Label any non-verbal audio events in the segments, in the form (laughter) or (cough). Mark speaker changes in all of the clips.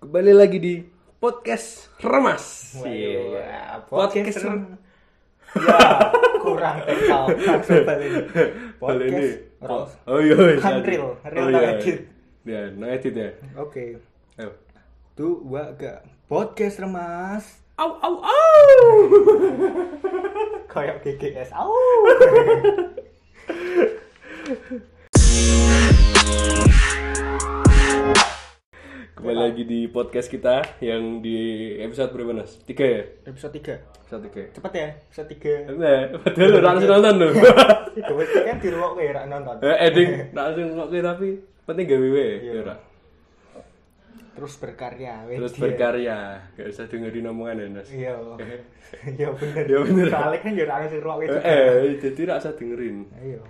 Speaker 1: kembali lagi di podcast Remas. (laughs)
Speaker 2: Waduh,
Speaker 1: Iya.
Speaker 2: Ya, podcast
Speaker 1: Podcast (laughs)
Speaker 2: rem-
Speaker 1: Rem-
Speaker 2: Ya, kurang tekal
Speaker 1: (laughs)
Speaker 2: maksudnya ini.
Speaker 1: Kali ini.
Speaker 2: Podcast Rose.
Speaker 1: Oh iya. iya.
Speaker 2: Kan real, real
Speaker 1: iya.
Speaker 2: tak edit.
Speaker 1: Ya, no edit ya.
Speaker 2: Oke.
Speaker 1: Ayo.
Speaker 2: Tuh, gua gak podcast remas.
Speaker 1: Au au au.
Speaker 2: Kayak GGS. Au.
Speaker 1: (laughs) Kembali lagi di podcast kita yang di episode berapa Nas? Tiga ya?
Speaker 2: (laughs) Episode 3.
Speaker 1: Episode tiga.
Speaker 2: Cepet ya, episode 3.
Speaker 1: Nah,
Speaker 2: Iya,
Speaker 1: padahal lu langsung nonton
Speaker 2: (laughs)
Speaker 1: lu.
Speaker 2: Gue kan di ruang kayak rak nonton.
Speaker 1: Eh, Eding langsung nonton tapi penting gak wewe
Speaker 2: Iya.
Speaker 1: ya. Ra?
Speaker 2: Terus berkarya. weh,
Speaker 1: Terus
Speaker 2: dia.
Speaker 1: berkarya, gak usah dengerin omongan ya Nas.
Speaker 2: ya. Iya. (laughs) Iya bener.
Speaker 1: Iya, bener.
Speaker 2: Soalnya kan ya rak ruang
Speaker 1: Eh,
Speaker 2: itu.
Speaker 1: eh, jadi ra usah dengerin.
Speaker 2: Iya.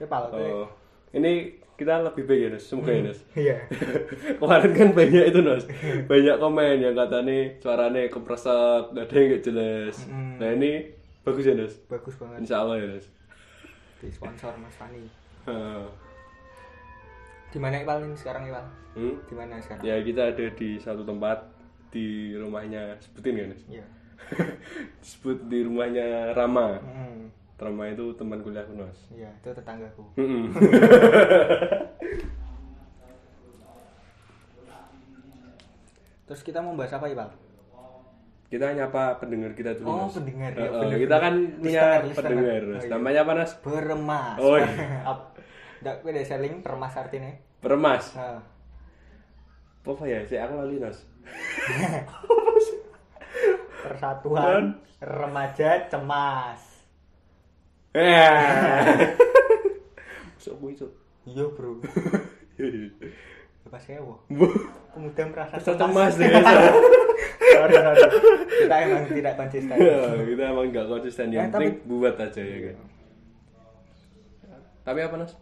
Speaker 2: Kepal.
Speaker 1: Oh, ini kita lebih baik ya, Nes. Semoga ya, Nes.
Speaker 2: Iya.
Speaker 1: (laughs) Kemarin kan banyak itu, Nes. Banyak komen yang katanya suaranya kepresek, ada yang nggak jelas.
Speaker 2: Mm.
Speaker 1: Nah, ini bagus ya, Nes.
Speaker 2: Bagus banget.
Speaker 1: Insya Allah ya, Nes.
Speaker 2: Di sponsor Mas Fani.
Speaker 1: Ah.
Speaker 2: Di mana Iqbal ini sekarang Iqbal?
Speaker 1: Hmm?
Speaker 2: Di mana sekarang?
Speaker 1: Ya, kita ada di satu tempat di rumahnya sebutin ya, Nes.
Speaker 2: Iya.
Speaker 1: (laughs) Sebut di rumahnya Rama.
Speaker 2: Hmm.
Speaker 1: Rama itu teman kuliahku, Nes.
Speaker 2: Iya, itu tetanggaku.
Speaker 1: Mm-mm.
Speaker 2: Terus kita mau bahas apa, Iqbal?
Speaker 1: kita nyapa pendengar kita dulu,
Speaker 2: Oh,
Speaker 1: Nes.
Speaker 2: pendengar
Speaker 1: Eh,
Speaker 2: ya,
Speaker 1: eh,
Speaker 2: bener-bener.
Speaker 1: kita kan punya
Speaker 2: Listener, listener.
Speaker 1: pendengar. Nes.
Speaker 2: Oh, iya.
Speaker 1: Namanya apa, Nes?
Speaker 2: Beremas.
Speaker 1: Oh, iya.
Speaker 2: (laughs) Ap- Nggak, gue udah selling Nah, remas artinya.
Speaker 1: Permas.
Speaker 2: Heeh.
Speaker 1: apa ya sih aku lali (laughs) nas
Speaker 2: Persatuan remaja cemas.
Speaker 1: sok kuwi (laughs) sok
Speaker 2: Iya, Bro. Lepas sewa. Pemuda merasa cemas.
Speaker 1: Rasa cemas deh Nas. (laughs)
Speaker 2: sorry, sorry. Kita emang tidak konsisten.
Speaker 1: Ya, kita emang nggak konsisten
Speaker 2: Eh,
Speaker 1: yang
Speaker 2: tapi-
Speaker 1: penting buat aja ya kan tapi apa nas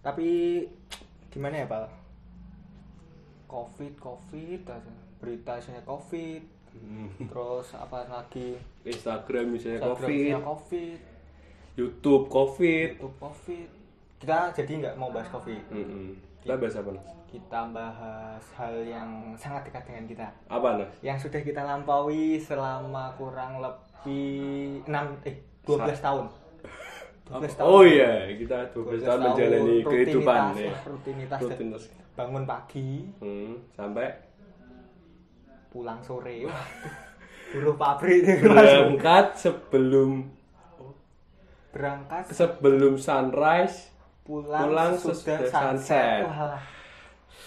Speaker 2: Tapi gimana ya, Pak? Covid, Covid, aja. berita isinya Covid, terus apa lagi?
Speaker 1: Instagram misalnya
Speaker 2: Instagram
Speaker 1: Hmm. Ya, covid
Speaker 2: isinya Covid,
Speaker 1: YouTube covid
Speaker 2: YouTube Covid. Kita jadi nggak mau bahas Covid.
Speaker 1: Mm-mm. kita bahas apa nas
Speaker 2: Kita bahas hal yang sangat dekat dengan kita,
Speaker 1: apa nas
Speaker 2: yang sudah kita lampaui selama kurang lebih 6 eh 12
Speaker 1: (laughs)
Speaker 2: tahun. 12 tahun.
Speaker 1: oh iya kita 12 tahun menjalani
Speaker 2: rutinitas, eh,
Speaker 1: kehidupan ya
Speaker 2: Rutinitas,
Speaker 1: rutinitas
Speaker 2: bangun pagi,
Speaker 1: Hmm, sampai
Speaker 2: pulang sore. (laughs) Waduh. Buruh pabrik
Speaker 1: Iya.
Speaker 2: deh, Mas.
Speaker 1: berangkat sebelum
Speaker 2: Berangkat
Speaker 1: sebelum sunrise
Speaker 2: pulang,
Speaker 1: Pulang
Speaker 2: sudah
Speaker 1: sesudah sunset.
Speaker 2: sunset. Walah.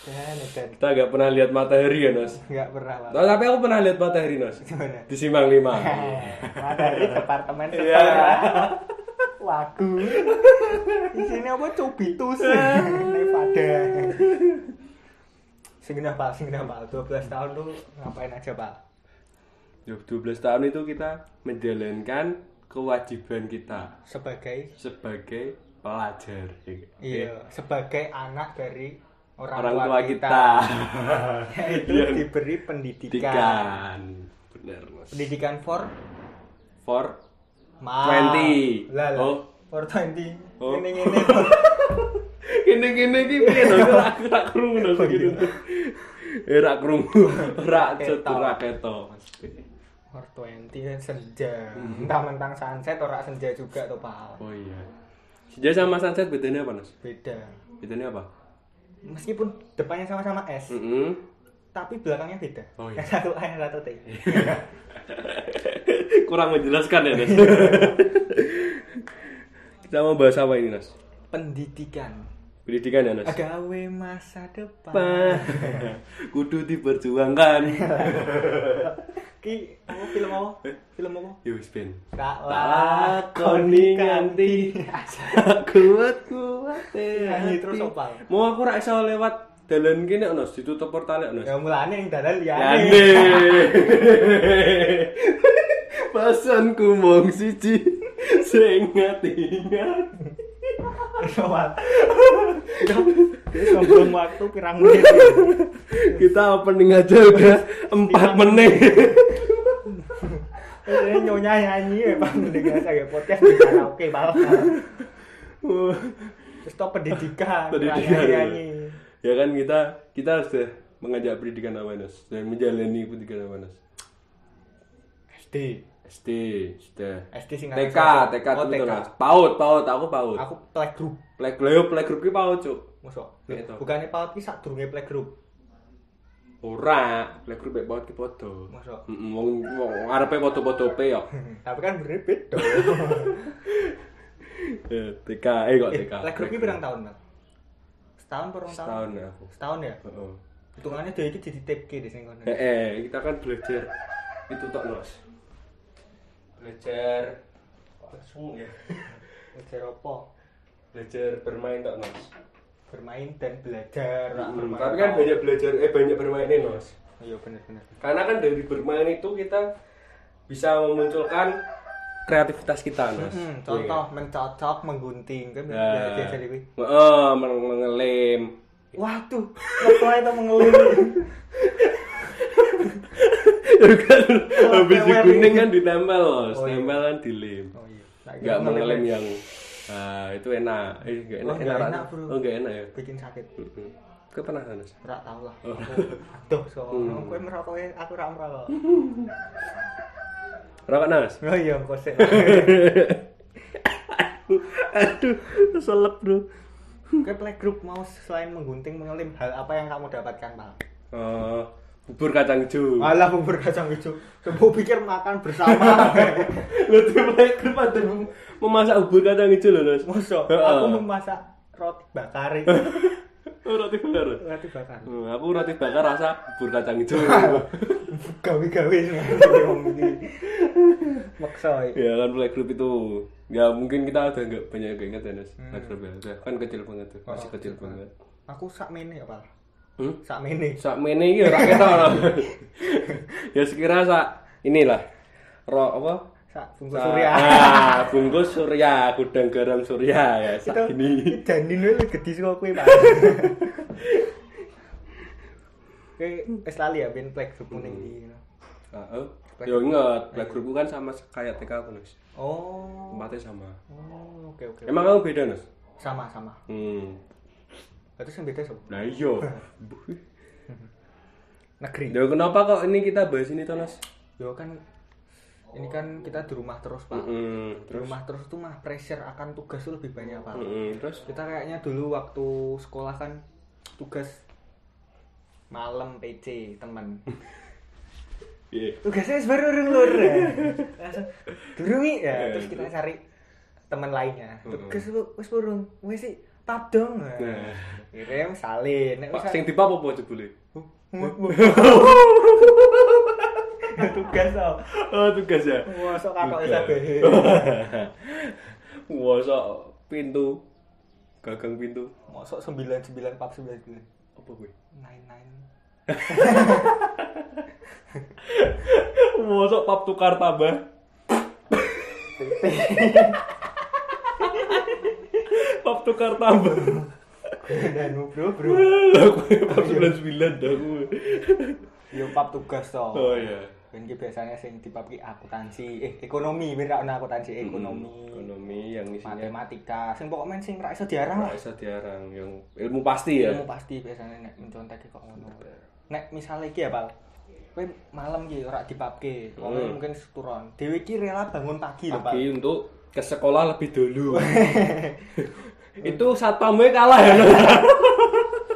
Speaker 2: Dan dan
Speaker 1: kita nggak pernah lihat matahari ya Nas
Speaker 2: enggak pernah lah.
Speaker 1: Nah, tapi aku pernah lihat matahari Nas
Speaker 2: Gimana?
Speaker 1: di Simang 5
Speaker 2: Nah, dari departemen
Speaker 1: Iya. (laughs)
Speaker 2: setara. Wagu. Di sini apa
Speaker 1: (laughs)
Speaker 2: cubitus.
Speaker 1: Iya.
Speaker 2: Nevada. Segenap Pak, segenap Pak. 12 tahun lu ngapain aja, Pak?
Speaker 1: Yuh, 12 tahun itu kita menjalankan kewajiban kita
Speaker 2: Sebagai
Speaker 1: sebagai pelajar ya.
Speaker 2: iya, sebagai anak dari orang,
Speaker 1: orang
Speaker 2: tua,
Speaker 1: tua
Speaker 2: kita.
Speaker 1: (laughs) kita Iya.
Speaker 2: Yaitu diberi pendidikan.
Speaker 1: pendidikan bener Mas
Speaker 2: Pendidikan for
Speaker 1: for
Speaker 2: ma.
Speaker 1: 20.
Speaker 2: Lah, lah.
Speaker 1: Oh.
Speaker 2: For 20.
Speaker 1: Oh.
Speaker 2: Ini ini.
Speaker 1: ini ini ini piye to rak rak krungu Nas gitu (laughs) eh rak krungu rak cet
Speaker 2: Ketok.
Speaker 1: rak ketok Mas.
Speaker 2: For 20 senja.
Speaker 1: Mhm.
Speaker 2: Entah mentang sunset ora senja juga tuh, Pak.
Speaker 1: oh iya Senja sama sunset bedanya apa Nas?
Speaker 2: Beda.
Speaker 1: Bedanya apa?
Speaker 2: Meskipun depannya sama-sama S,
Speaker 1: Mm-mm.
Speaker 2: tapi belakangnya beda.
Speaker 1: Hmm. Oh, iya.
Speaker 2: Yang (laughs) satu A, yang satu T.
Speaker 1: kurang menjelaskan ya Nas (laughs) kita mau bahas apa ini Nas
Speaker 2: Pendidikan.
Speaker 1: pendidikan ya Nas
Speaker 2: Gawe masa depan. (laughs)
Speaker 1: Apa? kudu diperjuangkan
Speaker 2: Ki, apa film apa? Film apa?
Speaker 1: yus Ben (laughs)
Speaker 2: Tak
Speaker 1: lakoni nganti kuat kuat
Speaker 2: Nyanyi terus opal.
Speaker 1: ya, mau aku rak iso lewat dalan kene Nas ditutup portale Nas
Speaker 2: (laughs) Ya mulane yang dalan (laughs)
Speaker 1: Yane
Speaker 2: liyane.
Speaker 1: Pasan kumong siji sing ngati-ngati
Speaker 2: Soal. (laughs) Ya, Sombong waktu pirang menit.
Speaker 1: kita opening aja udah 4 menit
Speaker 2: Ini Eh, nyonya nyanyi ya Pak mendengar saya podcast di karaoke
Speaker 1: (laughs)
Speaker 2: malah. Terus toh pendidikan,
Speaker 1: Pendidikan.
Speaker 2: nyanyi.
Speaker 1: ya kan kita kita sudah mengajak pendidikan awareness dan menjalani pendidikan awareness
Speaker 2: SD
Speaker 1: SD sudah
Speaker 2: SD singkatan
Speaker 1: TK TK
Speaker 2: oh, TK
Speaker 1: betul Mas. PAUD PAUD aku PAUD
Speaker 2: aku playgroup
Speaker 1: plek leo playgroup ki PAUD cuk
Speaker 2: musuh
Speaker 1: Kayak itu.
Speaker 2: bukannya paut ki sak durunge playgroup
Speaker 1: ora playgroup mek PAUD ki podo
Speaker 2: musuh
Speaker 1: Mm, wong wong arepe podo-podo pe yo (laughs)
Speaker 2: tapi kan bener beda
Speaker 1: Eh, TK eh kok
Speaker 2: Eh,
Speaker 1: TK
Speaker 2: playgroup ki pirang tahun Mas? setahun per rong tahun
Speaker 1: tahun aku
Speaker 2: setahun ya
Speaker 1: Heeh.
Speaker 2: hitungannya dia iki jadi tape ki di sing kono
Speaker 1: Eh, eh, kita kan belajar itu tak los. Belajar langsung ya. (laughs)
Speaker 2: belajar apa
Speaker 1: Belajar bermain tak los.
Speaker 2: bermain dan belajar lah, bermain.
Speaker 1: Hmm, Tapi kan banyak belajar eh banyak bermainnya los.
Speaker 2: iya bener bener
Speaker 1: Karena kan dari bermain itu kita bisa memunculkan kreativitas kita los.
Speaker 2: Hmm, contoh mencocok menggunting kan
Speaker 1: Nah,
Speaker 2: biasa jadi kuwi
Speaker 1: Heeh, Oh, meng- (laughs) mengelem.
Speaker 2: waduh (laughs) ngeplay itu
Speaker 1: (laughs)
Speaker 2: mengeluh
Speaker 1: Ya kan? Habis
Speaker 2: Sampai
Speaker 1: diguning kan ditempel los,
Speaker 2: Oh, iya.
Speaker 1: tempel kan dilem.
Speaker 2: oh iya Nah,
Speaker 1: Enggak
Speaker 2: gitu,
Speaker 1: mengelem yang ah, itu enak. Eh, enggak enak.
Speaker 2: Oh, nggak
Speaker 1: Ran.
Speaker 2: enak, Bro.
Speaker 1: Oh, enggak enak ya.
Speaker 2: bikin sakit
Speaker 1: Mm-mm. Kau pernah Hanes?
Speaker 2: ora tau lah (laughs) aduh so kowe merokok ya, aku ora merokok
Speaker 1: Rokok Hanes?
Speaker 2: (laughs) oh iya engko sik
Speaker 1: Aduh, selep bro.
Speaker 2: kowe playgroup mau selain menggunting mengelim hal apa yang kamu dapatkan Pak
Speaker 1: Eh, bubur kacang hijau.
Speaker 2: Alah bubur kacang hijau. Coba pikir makan bersama.
Speaker 1: Lu tuh mulai grup ada mem- memasak bubur kacang hijau loh Hanes.
Speaker 2: Mosok
Speaker 1: Heeh.
Speaker 2: aku memasak roti bakar.
Speaker 1: Oh, roti bakar.
Speaker 2: Roti bakar.
Speaker 1: Hmm, aku roti bakar rasa bubur kacang (laughs) hijau.
Speaker 2: Gawe-gawe sing ngomong iki. Maksa. ya.
Speaker 1: ya kan mulai grup itu. Ya mungkin kita udah nggak banyak yang ingat Hanes. Mulai grup ya. Udah, Kan kecil banget tuh, masih kecil banget.
Speaker 2: Aku sakmene ya, Pak.
Speaker 1: Hmm?
Speaker 2: Sakmene.
Speaker 1: sak mene iki ora ketok no. (laughs) ya sekira sak inilah ro apa
Speaker 2: Sak bungkus
Speaker 1: Sak-
Speaker 2: surya.
Speaker 1: ah, bungkus surya gudang garam surya ya sak
Speaker 2: Itu
Speaker 1: ini
Speaker 2: janin lu lebih gede saka kowe, (laughs) Pak. Oke, wis lali ya ben plek kuning iki.
Speaker 1: Ah, oh. ya inget black group kan sama kayak TK aku Nus.
Speaker 2: Oh.
Speaker 1: tempatnya sama
Speaker 2: Oh, oke oke.
Speaker 1: emang kamu beda Nus?
Speaker 2: Sama sama.
Speaker 1: hmm
Speaker 2: Terus yang beda sapa?
Speaker 1: nah (laughs) iyo
Speaker 2: Negeri.
Speaker 1: ya kenapa kok ini kita bahas ini tuh Nus?
Speaker 2: Yo kan ini kan kita di rumah terus pak.
Speaker 1: Hmm,
Speaker 2: Di rumah terus tuh mah pressure akan tugas tuh lebih banyak pak.
Speaker 1: hmm, terus
Speaker 2: Kita kayaknya dulu waktu sekolah kan tugas malam PC temen.
Speaker 1: iya
Speaker 2: Tugasnya baru urung
Speaker 1: (laughs)
Speaker 2: lur. Langsung durung i, ya.
Speaker 1: Iya,
Speaker 2: Terus kita cari teman lainnya. Tugas lu wis burung. Wis sih pap dong.
Speaker 1: Nah.
Speaker 2: Kirim salin. Nek
Speaker 1: pak
Speaker 2: wis-
Speaker 1: sing tipe apa apa jebule?
Speaker 2: (laughs) Kan tugas tau.
Speaker 1: oh tugas ya
Speaker 2: Wah, sok kakak wis
Speaker 1: (laughs)
Speaker 2: abehe.
Speaker 1: Wah, sok pintu. Gagang pintu.
Speaker 2: Mosok 99 pap 99.
Speaker 1: Apa gue?
Speaker 2: nine nine
Speaker 1: (laughs) Wah, sok pap tukar (laughs) tambah. pap tukar tambah.
Speaker 2: dan bro bro
Speaker 1: Lah gue pap 99 dah gue.
Speaker 2: yo pap tugas to
Speaker 1: Oh iya.
Speaker 2: ben ki biasanya sing dipap ki akuntansi eh ekonomi ben ra ono akuntansi
Speaker 1: Hmm,
Speaker 2: ekonomi
Speaker 1: Ekonomi yang isinya
Speaker 2: matematika sing pokok men sing ra iso diarang lah
Speaker 1: nggak bisa diarang yang ilmu pasti ya.
Speaker 2: ilmu pasti biasanya nek mencontek kok ngono nek misale iki ya pal kowe malam ki ora dipapke kowe
Speaker 1: Hmm.
Speaker 2: mungkin seturon dhewe ki rela bangun pagi lho pal
Speaker 1: Pagi untuk ke sekolah lebih (laughs) dulu. itu satpamnya kalah ya. Nona?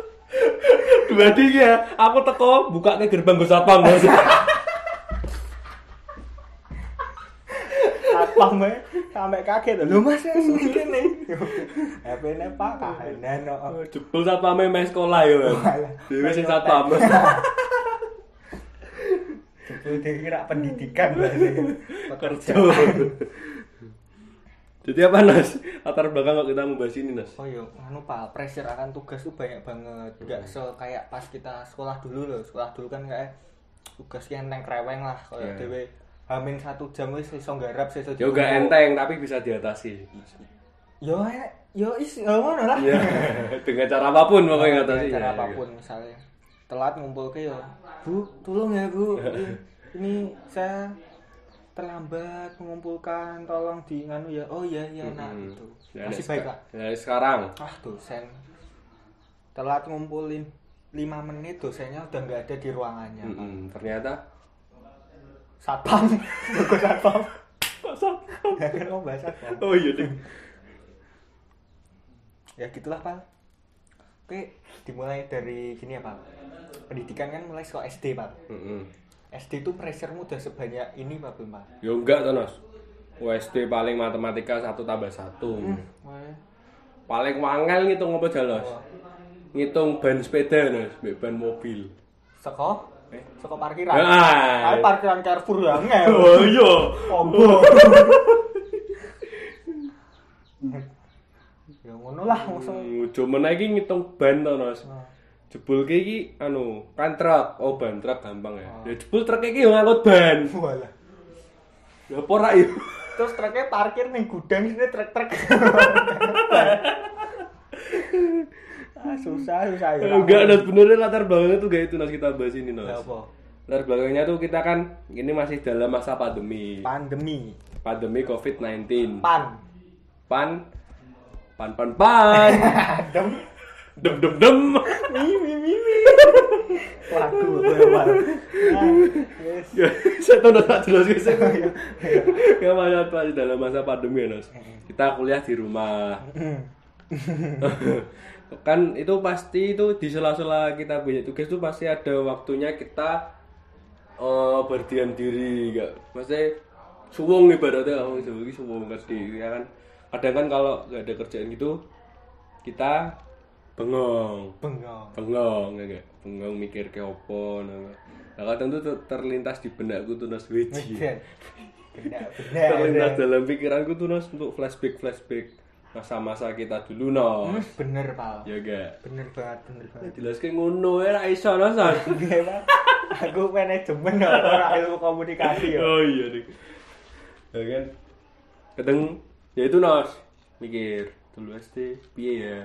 Speaker 1: (laughs) Berarti ya, aku teko buka ke gerbang gue satpam. Nona. (laughs)
Speaker 2: apa me sampe kaget lho mas ya (laughs) ngene HP ne pak kahanan no.
Speaker 1: Jebul satpamnya main sekolah ya. Bang.
Speaker 2: Walah,
Speaker 1: Dewi sing
Speaker 2: main
Speaker 1: satpam.
Speaker 2: Itu dikira pendidikan bahasanya.
Speaker 1: (laughs) Kerja. Jadi apa Nas? Latar belakang kok kita membahas ini Nas?
Speaker 2: Oh iya, anu pal, pressure akan tugas tuh banyak banget. Enggak
Speaker 1: Hmm.
Speaker 2: se kayak pas kita sekolah dulu loh. Sekolah dulu kan kayak tugasnya enteng kreweng lah
Speaker 1: Iya.
Speaker 2: kayak dhewe hamin satu jam wis iso nggarap iso
Speaker 1: Ya gak enteng tapi bisa diatasi.
Speaker 2: Yo eh, yo is yo ngono lah.
Speaker 1: Ya, (laughs) dengan cara apapun
Speaker 2: Iya.
Speaker 1: pokoknya
Speaker 2: Dengan
Speaker 1: ngatasi.
Speaker 2: cara
Speaker 1: Ya, ya.
Speaker 2: apapun misalnya telat ngumpul ke yo. Bu, tolong ya, Bu.
Speaker 1: Iya.
Speaker 2: Ini, ini saya terlambat mengumpulkan tolong di nganu ya. Oh iya iya nah
Speaker 1: Hmm.
Speaker 2: itu.
Speaker 1: Ya,
Speaker 2: Masih Iya,
Speaker 1: sek-
Speaker 2: baik lah.
Speaker 1: ya, sekarang
Speaker 2: ah dosen telat Ah, ngumpulin lima menit dosennya udah nggak ada di ruangannya Pak.
Speaker 1: Mm-mm, ternyata (laughs)
Speaker 2: satpam bagus satpam
Speaker 1: Pasang.
Speaker 2: ya kan mau bahas satpam
Speaker 1: Oh iya ding.
Speaker 2: ya gitulah pak oke dimulai dari gini ya pak pendidikan kan mulai soal SD pak
Speaker 1: Mm-mm.
Speaker 2: SD itu pressure-mu udah sebanyak ini pak belum pak
Speaker 1: Ya enggak to, Nos. USD paling matematika satu tambah satu.
Speaker 2: Hmm.
Speaker 1: Paling wangel ngitung apa jalan? Nos? Ngitung ban sepeda, Nos, mbek ban mobil.
Speaker 2: Seko?
Speaker 1: Eh?
Speaker 2: Seko parkiran?
Speaker 1: Ah.
Speaker 2: Tapi parkiran Carrefour ya, ngel.
Speaker 1: (laughs) Oh iya. (laughs)
Speaker 2: Ombo. ya ngono lah, maksudnya.
Speaker 1: Hmm, Cuman lagi ngitung ban to, Nos. Jebul ki iki anu, kan truk. Oh, ban truk gampang
Speaker 2: Ah.
Speaker 1: ya. Ya jebul truk iki yo ngangkut ban.
Speaker 2: Walah.
Speaker 1: Ya apa ora yo?
Speaker 2: Terus truknya parkir nih gudang sini truk-truk. ah, susah susah ya.
Speaker 1: Enggak, Nos, beneran latar belakangnya tuh gak itu, Nos, kita bahas ini,
Speaker 2: Ya
Speaker 1: Nos.
Speaker 2: apa?
Speaker 1: Latar belakangnya tuh kita kan ini masih dalam masa pandemi.
Speaker 2: Pandemi.
Speaker 1: Pandemi COVID-19.
Speaker 2: Pan.
Speaker 1: Pan pan pan (laughs) pan.
Speaker 2: Adem.
Speaker 1: dem dem dem. (laughs)
Speaker 2: Mimi mimi. Lagu lewat. Ah, yes.
Speaker 1: ya, saya tahu udah tak jelas guys. (laughs) Ya masa pas dalam masa pandemi ya, Nos. Kita kuliah di rumah.
Speaker 2: Hmm.
Speaker 1: (laughs) kan itu pasti itu di sela-sela kita punya tugas tuh pasti ada waktunya kita eh, berdiam diri enggak maksudnya suwung ibaratnya oh Jawa ini suwung kerdi ya kan kadang kan kalau nggak ada kerjaan gitu kita bengong
Speaker 2: Bengong.
Speaker 1: bengong ya nggak? bengong mikir ke opo nah, nah kadang tuh ter- terlintas di benakku tuh nas weji (laughs)
Speaker 2: Bener. Bener.
Speaker 1: terlintas
Speaker 2: Bener.
Speaker 1: dalam pikiranku tuh nas untuk flashback flashback masa-masa kita dulu nos
Speaker 2: Bener, Pal.
Speaker 1: ya gak
Speaker 2: Bener banget, bener banget.
Speaker 1: jelas kayak ngono ya ra iso no Son.
Speaker 2: Iya, Pak. Aku manajemen ya, orang ilmu komunikasi ya.
Speaker 1: (laughs) oh iya dik ya kan kadang ya itu nos mikir dulu SD piye ya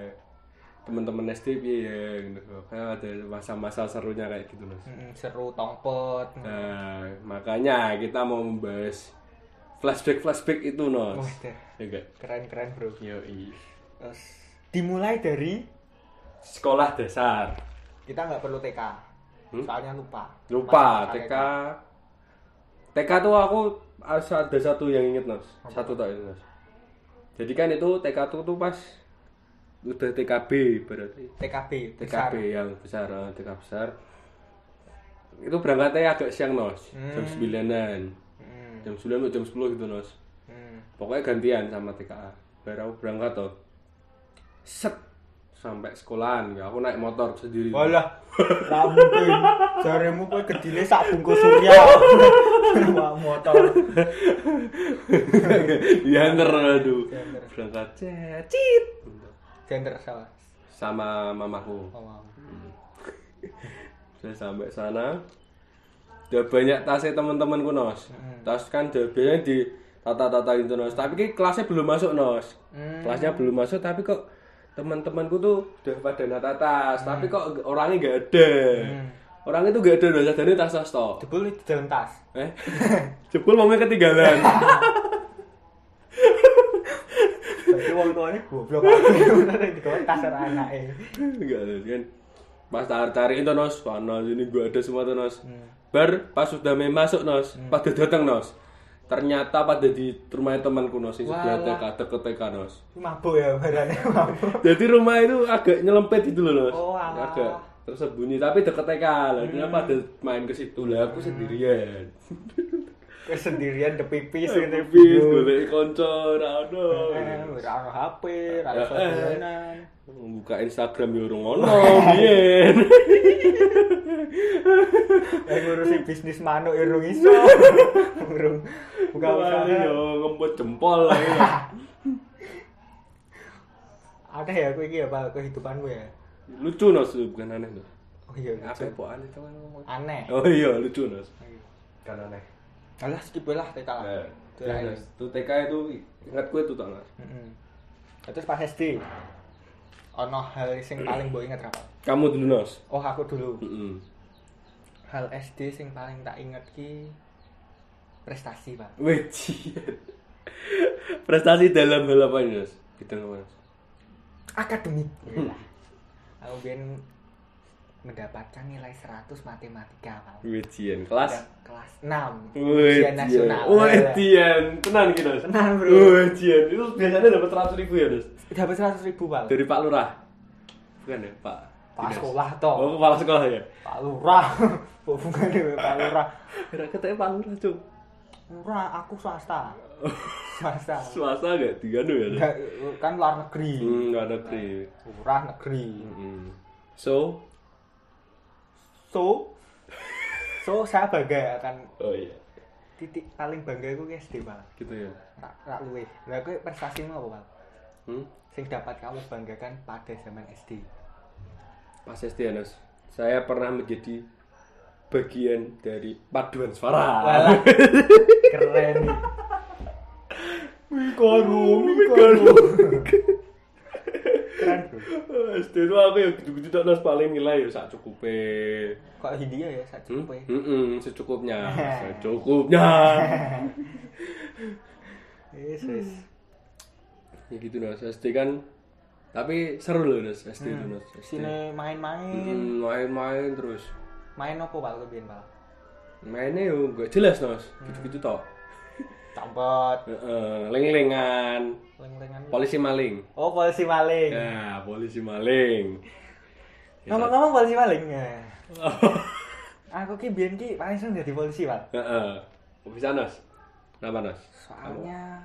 Speaker 1: teman-teman SD piye ya gitu kan ada masa-masa serunya kayak gitu nos
Speaker 2: Mm, seru tongpot.
Speaker 1: nah makanya kita mau membahas flashback flashback itu nos
Speaker 2: Wah, deh.
Speaker 1: ya gak
Speaker 2: Keren-keren, Bro.
Speaker 1: Yoi.
Speaker 2: Terus dimulai dari
Speaker 1: sekolah dasar
Speaker 2: kita nggak perlu TK.
Speaker 1: Hmm?
Speaker 2: Soalnya lupa.
Speaker 1: lupa gitu.
Speaker 2: Masuk
Speaker 1: TK TK tuh aku asa- ada satu yang inget nos satu tak inget, nos jadi kan itu TK tuh tuh pas udah TKB berarti
Speaker 2: TKB. besar.
Speaker 1: TKB yang besar eh, TK besar itu berangkatnya agak siang nos jam sembilanan
Speaker 2: Mm,
Speaker 1: jam sembilan atau jam sepuluh gitu nos
Speaker 2: mm.
Speaker 1: pokoknya gantian sama TKA baru aku berangkat tuh set sampai sekolahan Ya, aku naik motor sendiri
Speaker 2: (laughs) Walah, rambut jaremu kowe gedine sak (laughs) bungkus surya. Wah, motor.
Speaker 1: (laughs) Diantar aduh. Berangkat cecit
Speaker 2: Gender salah.
Speaker 1: sama mamaku.
Speaker 2: Oh, wow.
Speaker 1: Saya sampai sana. Udah banyak tasnya teman-temanku Nos. Tas kan udah biasanya di tata-tata itu Nos. Tapi ki kelasnya belum masuk Nos. Kelasnya belum masuk tapi kok teman-temanku tuh udah pada nata tas, tapi kok orangnya nggak ada. Orangnya tuh nggak ada Nos, jadi tas-tas tok.
Speaker 2: (laughs) Jebul di dalam tas.
Speaker 1: Eh, (laughs) jebul mamanya ketinggalan.
Speaker 2: Berarti wong (laughs) tuane goblok aku di tas ora anake.
Speaker 1: Enggak ada kan. Pas cari itu nos, panas ini gua ada semua tuh nos.
Speaker 2: Hmm.
Speaker 1: Bar pas sudah main masuk nos, pada datang nos. Ternyata pada di rumah temanku nos yang sudah
Speaker 2: Walah.
Speaker 1: TK deket TK nos.
Speaker 2: Mabuk ya (laughs) barane mabuk.
Speaker 1: Jadi rumah itu agak nyelempet gitu loh nos.
Speaker 2: Oh, alah. Hmm.
Speaker 1: agak tersembunyi tapi deket TK lah. Dia pada main ke situ lah aku sendirian.
Speaker 2: Kowe sendirian de pipis ngene
Speaker 1: Bis (laughs) golek kanca ra ono.
Speaker 2: Ora ono HP, ora ono (laughs) dolanan.
Speaker 1: Buka Instagram yo rung ono, (laughs) biyen.
Speaker 2: Eh
Speaker 1: (laughs)
Speaker 2: ngurusi bisnis manuk irung iso. Urung. Buka
Speaker 1: Kali
Speaker 2: usaha.
Speaker 1: yo ngempet ya, jempol lah. ya.
Speaker 2: Ada ya kowe iki ya Pak kehidupanmu ya.
Speaker 1: lucu nos bukan aneh nos
Speaker 2: Oh iya.
Speaker 1: apa yang aneh itu kan ngomong.
Speaker 2: Aneh.
Speaker 1: oh iya lucu nos kan aneh
Speaker 2: Alah skip lah TK lah.
Speaker 1: nah,
Speaker 2: Itu
Speaker 1: terus
Speaker 2: lah.
Speaker 1: nos tuh TK itu ingat gue tuh tanggal
Speaker 2: Heeh. Ya, Terus pas SD. Ono hal sing paling mbok inget apa?
Speaker 1: kamu dulu nos
Speaker 2: Oh aku dulu.
Speaker 1: Mm-mm.
Speaker 2: hal SD sing paling tak inget ki prestasi pak
Speaker 1: Wih, jiet. prestasi dalam hal apa ini nos kita ngomong nos
Speaker 2: akademik aku biar mendapatkan nilai 100 matematika Pak.
Speaker 1: Ujian kelas. iya.
Speaker 2: kelas 6 ujian Ya.
Speaker 1: Ujian.
Speaker 2: nasional Iya.
Speaker 1: Ujian. Tenang gitu. Nos.
Speaker 2: tenang bro
Speaker 1: Ujian. Itu biasanya dapat 100 ribu ya, Nos?
Speaker 2: dapat 100 ribu Pak
Speaker 1: Dari Pak Lurah. Bukan ya, Pak.
Speaker 2: Pak
Speaker 1: Dinas.
Speaker 2: sekolah toh
Speaker 1: Oh, kepala sekolah ya.
Speaker 2: Pak Lurah (laughs) hubungannya dengan Pak Lurah
Speaker 1: Kira katanya Pak Lurah, Cuk.
Speaker 2: Lurah aku
Speaker 1: (laughs)
Speaker 2: swasta swasta
Speaker 1: Swasta gak diganu ya? Nos?
Speaker 2: Enggak, kan luar negeri
Speaker 1: Hmm, gak negeri.
Speaker 2: Lurah negeri
Speaker 1: Mm-mm. So,
Speaker 2: so so saya bangga akan
Speaker 1: oh iya,
Speaker 2: titik paling bangga aku guys SD Pak
Speaker 1: gitu ya.
Speaker 2: tak tak luwe lah aku prestasimu apa Pak
Speaker 1: Hmm?
Speaker 2: sing dapat kamu banggakan pada zaman SD
Speaker 1: Pas SD ya, Nos. Saya pernah menjadi bagian dari paduan suara. (laughs)
Speaker 2: Walah. keren
Speaker 1: Mikaru,
Speaker 2: keren bro
Speaker 1: SD itu aku yang gitu-gitu tak Nos paling nilai ya sak cukupe.
Speaker 2: kok Hindia ya saat
Speaker 1: Hmm?
Speaker 2: cukup ya
Speaker 1: Mm-mm, secukupnya, (laughs) secukupnya. Hmm.
Speaker 2: yes yes
Speaker 1: ya gitu Nos, SD kan. Tapi seru loh Nos, SD itu Nos. SD.
Speaker 2: sini main-main
Speaker 1: Mm, Main-main terus.
Speaker 2: main apa pak lu biar pak
Speaker 1: Mainnya yo gak jelas Nos, gitu-gitu toh.
Speaker 2: copot
Speaker 1: Heeh, leng-lengan,
Speaker 2: leng-lengan
Speaker 1: polisi maling.
Speaker 2: oh polisi maling
Speaker 1: Nah, polisi maling. iya. Ya,
Speaker 2: ngomong-ngomong polisi maling Nah,
Speaker 1: Oh.
Speaker 2: (laughs) aku ki biar ki paling seneng jadi polisi pak
Speaker 1: Heeh. Kok bisa Nos? Kenapa Nos?
Speaker 2: soalnya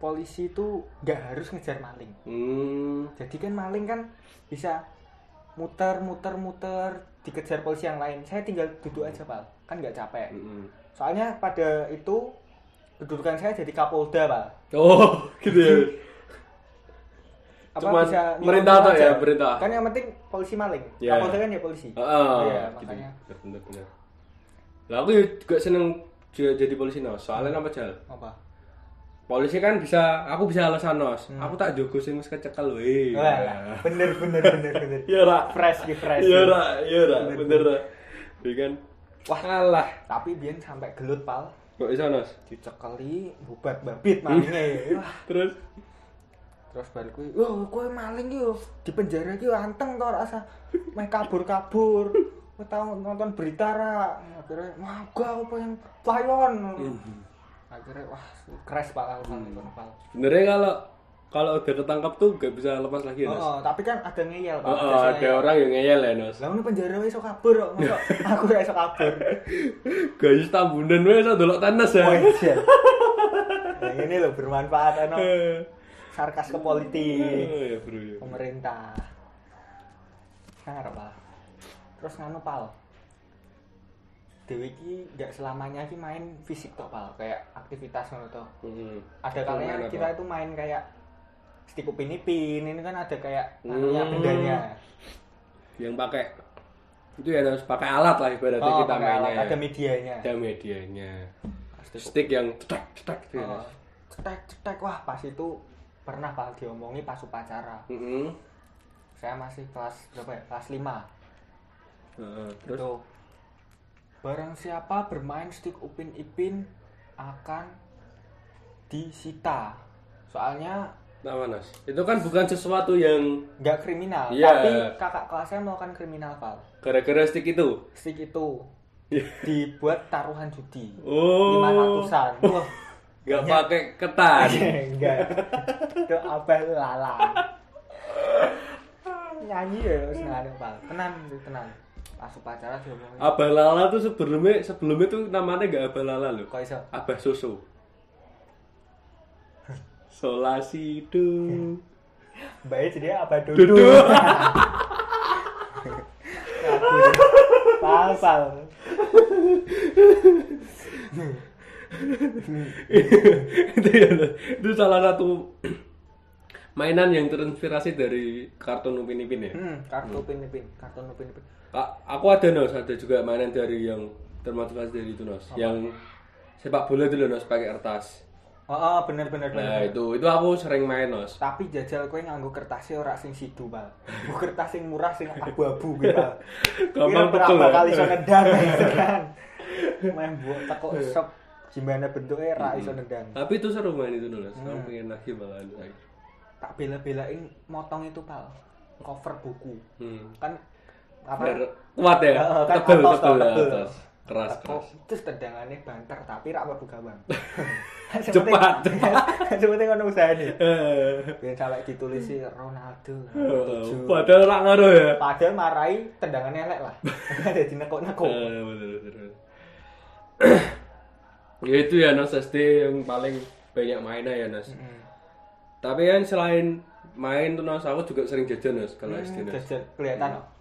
Speaker 2: polisi itu nggak harus ngejar maling
Speaker 1: Hmm,
Speaker 2: jadi kan maling kan bisa muter muter muter dikejar polisi yang lain saya tinggal duduk aja pak kan nggak capek
Speaker 1: mm-mm.
Speaker 2: soalnya pada itu kedudukan saya jadi kapolda pak
Speaker 1: Oh, (laughs) gitu ya.
Speaker 2: apa
Speaker 1: Cuman
Speaker 2: bisa nyuruh
Speaker 1: merintah
Speaker 2: nyuruh
Speaker 1: tok ya,
Speaker 2: aja.
Speaker 1: merintah.
Speaker 2: kan yang penting polisi maling
Speaker 1: Iya.
Speaker 2: kapolda kan ya polisi
Speaker 1: Heeh.
Speaker 2: Iya,
Speaker 1: gitu.
Speaker 2: makanya.
Speaker 1: Bener, bener, bener. Lah aku juga seneng j- jadi polisi Nos. Soalnya apa jal?
Speaker 2: apa
Speaker 1: Polisi kan bisa, aku bisa alasan Nos.
Speaker 2: Hmm.
Speaker 1: Aku tak jogo sing wis kecekel weh.
Speaker 2: Wah, bener bener bener bener
Speaker 1: Iya,
Speaker 2: Iya.
Speaker 1: Ra.
Speaker 2: (laughs) fresh ki fresh
Speaker 1: Iya ra, iya ra, bener ra. Iya kan? Wah kalah.
Speaker 2: tapi biar sampai gelut pal
Speaker 1: Kok iso Nos?
Speaker 2: dicekeli bubat babit (laughs) malingnya wah
Speaker 1: Terus
Speaker 2: terus baru kui wah kue maling yo di penjara ki anteng tau rasa main kabur kabur Kue tau nonton berita ra akhirnya wah gua apa yang (laughs) playon akhirnya wah crash pak kalau kalau itu, Pak.
Speaker 1: sebenarnya kalau kalau udah ketangkap tuh gak bisa lepas lagi
Speaker 2: Oh,
Speaker 1: ya Nos.
Speaker 2: oh, tapi kan ada ngeyel pak
Speaker 1: Oh, oh, ada orang yang ngeyel ya Nos.
Speaker 2: Lah, ini penjara wis iso kabur kok (laughs) masa aku ra iso kabur
Speaker 1: Gayus tambunan wes iso delok tenis ya.
Speaker 2: Wah, iya. Yang Nah, ini loh bermanfaat ano sarkas ke politik
Speaker 1: Oh, ya bro ya.
Speaker 2: pemerintah ngarep Pak. terus nganu pal Dewi ki nggak selamanya ki main fisik tok pal kayak aktivitas ngono tok
Speaker 1: Hmm.
Speaker 2: ada
Speaker 1: Itu main
Speaker 2: kalanya
Speaker 1: apa?
Speaker 2: kita itu main kayak stick upin ipin ini kan ada kayak
Speaker 1: Hmm.
Speaker 2: anunya bendanya
Speaker 1: yang pakai itu ya harus pakai alat lah ibaratnya
Speaker 2: oh,
Speaker 1: kita
Speaker 2: pakai
Speaker 1: mainnya. ya.
Speaker 2: alat, ada medianya
Speaker 1: Ada medianya.
Speaker 2: Pasti kok.
Speaker 1: Stick yang cetek cetek gitu ya. Nos.
Speaker 2: Oh, cetek cetek wah pas itu pernah pak diomongi pas upacara
Speaker 1: Mm-mm.
Speaker 2: saya masih kelas berapa ya kelas 5
Speaker 1: Heeh, Terus
Speaker 2: Tuh. Barang siapa bermain stick upin ipin akan disita. Soalnya
Speaker 1: Nama Nas. Itu kan bukan sesuatu yang
Speaker 2: nggak kriminal,
Speaker 1: Iya.
Speaker 2: tapi kakak kelas saya melakukan kriminal pal.
Speaker 1: gara-gara stick itu.
Speaker 2: Stick itu dibuat taruhan judi.
Speaker 1: Iya. Oh.
Speaker 2: Lima ratusan.
Speaker 1: (laughs)
Speaker 2: Iya. Wah,
Speaker 1: Gak pakai ketan.
Speaker 2: enggak. Itu abah lala. Nyanyi ya wis ngene pal. Tenan, tenan. Pas upacara diomongin.
Speaker 1: Abah Lala tuh sebelumnya sebelumnya tuh namanya gak Abah Lala loh.
Speaker 2: Kok iso?
Speaker 1: Abah Soso. Solasido.
Speaker 2: Baik jadi apa
Speaker 1: Dudu.
Speaker 2: dulu? Pal pal.
Speaker 1: itu, ya, Nas. itu salah satu mainan yang terinspirasi dari kartun Upin Ipin ya.
Speaker 2: Hmm, kartu pin pin, kartu pin pin.
Speaker 1: A- aku ada Nos, ada juga mainan dari yang termotivasi dari itu Nos. Yang sepak bola dulu Nos pakai kertas.
Speaker 2: Oh, oh bener bener bener.
Speaker 1: Nah, itu itu aku sering main Nos.
Speaker 2: Tapi jajal kowe nganggo kertasnya ora sing sidu, Pal. Bu kertas sing murah sing abu-abu kuwi, Pal.
Speaker 1: Gampang
Speaker 2: Kira
Speaker 1: pecel,
Speaker 2: berapa
Speaker 1: ya?
Speaker 2: kali iso
Speaker 1: (laughs)
Speaker 2: nendang gitu kan. Main buat tekok sop gimana bentuknya ra iso nendang.
Speaker 1: Tapi itu seru main itu Nos. Aku pengen lagi malahan.
Speaker 2: Tak bela-belain motong itu, Pal. Cover buku.
Speaker 1: Hmm.
Speaker 2: kan
Speaker 1: Bener. Kuat ya?
Speaker 2: Heeh, kan
Speaker 1: Tebel,
Speaker 2: atos,
Speaker 1: tebel,
Speaker 2: toh, tebel.
Speaker 1: atos. Keras,
Speaker 2: Oh,
Speaker 1: keras.
Speaker 2: terus tendangannya banter tapi rak mlebu gawang.
Speaker 1: (laughs) Cepat, cepat.
Speaker 2: (laughs) Seperti ngono usahane.
Speaker 1: Eh,
Speaker 2: Ben sampai ditulis si Ronaldo.
Speaker 1: eh,
Speaker 2: tujuh.
Speaker 1: Padahal rak ngaruh ya.
Speaker 2: Padahal marai tendangannya elek lah. (laughs) Jadi nekuk-nekuk.
Speaker 1: Eh, bener, bener, bener. ya itu ya Nos SD yang paling banyak mainnya ya Nos.
Speaker 2: Heeh.
Speaker 1: Tapi kan selain main tuh Nos, aku juga sering jajan Nos kalau SD Nos.
Speaker 2: Jajan kelihatan. oh.
Speaker 1: Hmm.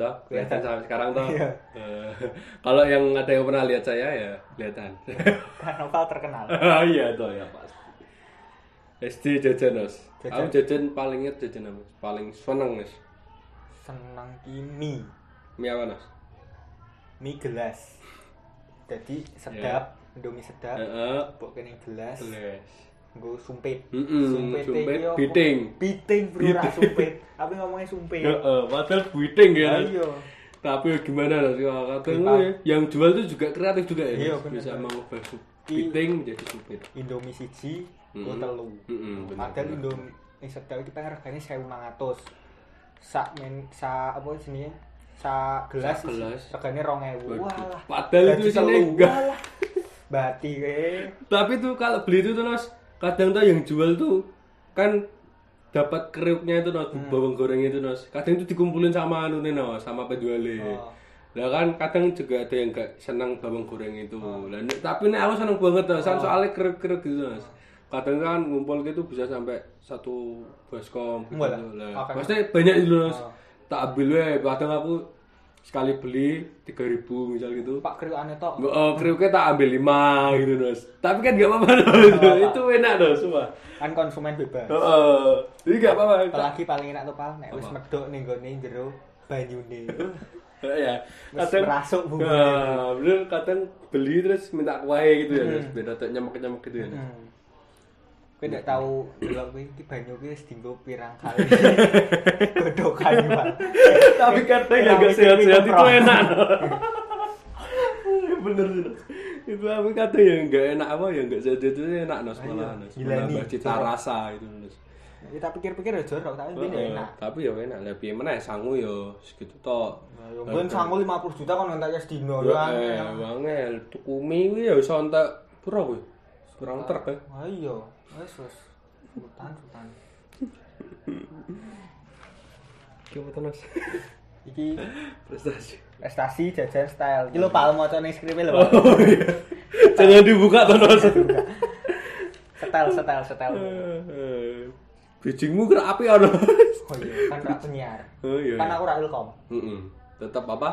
Speaker 1: Entah, kelihatan sampai sekarang toh.
Speaker 2: Hmm. Iya.
Speaker 1: Eh, kalau yang ada yang pernah lihat saya ya kelihatan. (laughs)
Speaker 2: Karnaval terkenal.
Speaker 1: Ah, iya toh ya pasti. SD jajan Nos.
Speaker 2: Jajan.
Speaker 1: Aku jajan paling inget jajan apa? Paling seneng Nos.
Speaker 2: Senang kimi.
Speaker 1: Mie apa Nos?
Speaker 2: mie gelas jadi sedap
Speaker 1: Ya.
Speaker 2: indomie sedap
Speaker 1: Heeh.
Speaker 2: mbok kene gelas
Speaker 1: Les.
Speaker 2: nggo sumpit
Speaker 1: Mm-mm,
Speaker 2: iki
Speaker 1: sumpit,
Speaker 2: apa?
Speaker 1: biting. oh,
Speaker 2: biting bro ra sumpit tapi ngomongnya sumpit
Speaker 1: Heeh, Eh, padahal buiting ya. Nos.
Speaker 2: ayo
Speaker 1: Tapi gimana Nos? Ya, kadang
Speaker 2: Gimana?
Speaker 1: ya, yang jual tuh juga kreatif juga ya.
Speaker 2: Iya,
Speaker 1: Nos?
Speaker 2: bener.
Speaker 1: Bisa mengubah sup- piting menjadi supit.
Speaker 2: indomie siji nggo
Speaker 1: Mm-mm.
Speaker 2: telu
Speaker 1: Mm-mm, Hmm. bener,
Speaker 2: padahal
Speaker 1: bener.
Speaker 2: indomie ini sedap kita harganya 1500 sak men sa apa jenenge sa gelas
Speaker 1: Sak gelas.
Speaker 2: regane 2000
Speaker 1: Waduh,
Speaker 2: walah
Speaker 1: padahal
Speaker 2: Dadi
Speaker 1: itu isinya
Speaker 2: telu.
Speaker 1: enggak.
Speaker 2: Walah. bati eh. kowe
Speaker 1: Tapi tuh kalau beli itu tuh Nos, kadang tuh yang jual tuh kan dapat kriuknya itu Nos,
Speaker 2: Hmm.
Speaker 1: bawang goreng itu Nos. Kadang itu dikumpulin sama anu nih Nos, sama penjualnya.
Speaker 2: Oh.
Speaker 1: Nah kan kadang juga ada yang gak senang bawang goreng itu.
Speaker 2: Oh.
Speaker 1: Lah, nek- tapi nek aku seneng banget Nos, kan soalnya kriuk-kriuk gitu Nos. Kadang kan ngumpul gitu bisa sampai satu baskom gitu.
Speaker 2: Walah.
Speaker 1: Lah,
Speaker 2: Oke. Oh.
Speaker 1: maksudnya banyak itu Nos. Tak ambil wae, kadang aku sekali beli 3000 misal gitu.
Speaker 2: pak kriukane tok
Speaker 1: Nggak, Oh, kriuknya tak ambil lima gitu Nos. Tapi kan gak apa-apa Nos. itu enak Nos, semua.
Speaker 2: kan konsumen bebas
Speaker 1: Oh, oh. Jadi gak apa-apa. Tak-
Speaker 2: Apalagi paling enak tuh pal, nek wis medok ning gone jero banyune.
Speaker 1: Oh, ya.
Speaker 2: Wis merasuk bumbunya.
Speaker 1: Nah, bener kadang beli terus minta kuahnya gitu ya Nos. Beda tak nyemek-nyemek gitu ya Nos.
Speaker 2: Hmm. Kowe
Speaker 1: Nah.
Speaker 2: ndak tau delok kowe iki banyu kuwi wis dienggo pirang
Speaker 1: (laughs)
Speaker 2: kali. Godokan iki, Pal.
Speaker 1: Tapi kadang yang
Speaker 2: Tapi
Speaker 1: gak sehat-sehat itu
Speaker 2: minum
Speaker 1: enak Nos. (laughs) bener sih Nos. Itu aku kata yang gak enak apa yang gak sehat itu enak Nos malah Nos.
Speaker 2: gila nih.
Speaker 1: Menambah cita rasa itu Nos.
Speaker 2: Kita pikir-pikir ya jorok, tapi ben
Speaker 1: Heeh,
Speaker 2: enak.
Speaker 1: Tapi ya enak. Lebih mana ya sangu yo segitu tok.
Speaker 2: Yo ben sangu 50 juta kon entek es dino
Speaker 1: Ya
Speaker 2: ya.
Speaker 1: Nah, iya. eh, wangel, tuku mie kuwi ya iso entek pira kuwi? Kurang trek ya.
Speaker 2: Ah iya, wis wis. Sultan sultan.
Speaker 1: Ki opo (laughs) tenan?
Speaker 2: Iki
Speaker 1: Prestasi.
Speaker 2: prestasi jajan style. Iki lho
Speaker 1: Iya.
Speaker 2: Pal macane skripe e
Speaker 1: (laughs)
Speaker 2: lho. Pal.
Speaker 1: Oh iya. Jangan dibuka tenan.
Speaker 2: Setel setel setel.
Speaker 1: Bijingmu kira api ono.
Speaker 2: Oh iya, kan ora penyiar.
Speaker 1: (laughs) Oh iya.
Speaker 2: Kan aku ora ilkom.
Speaker 1: Heeh. Tetep apa?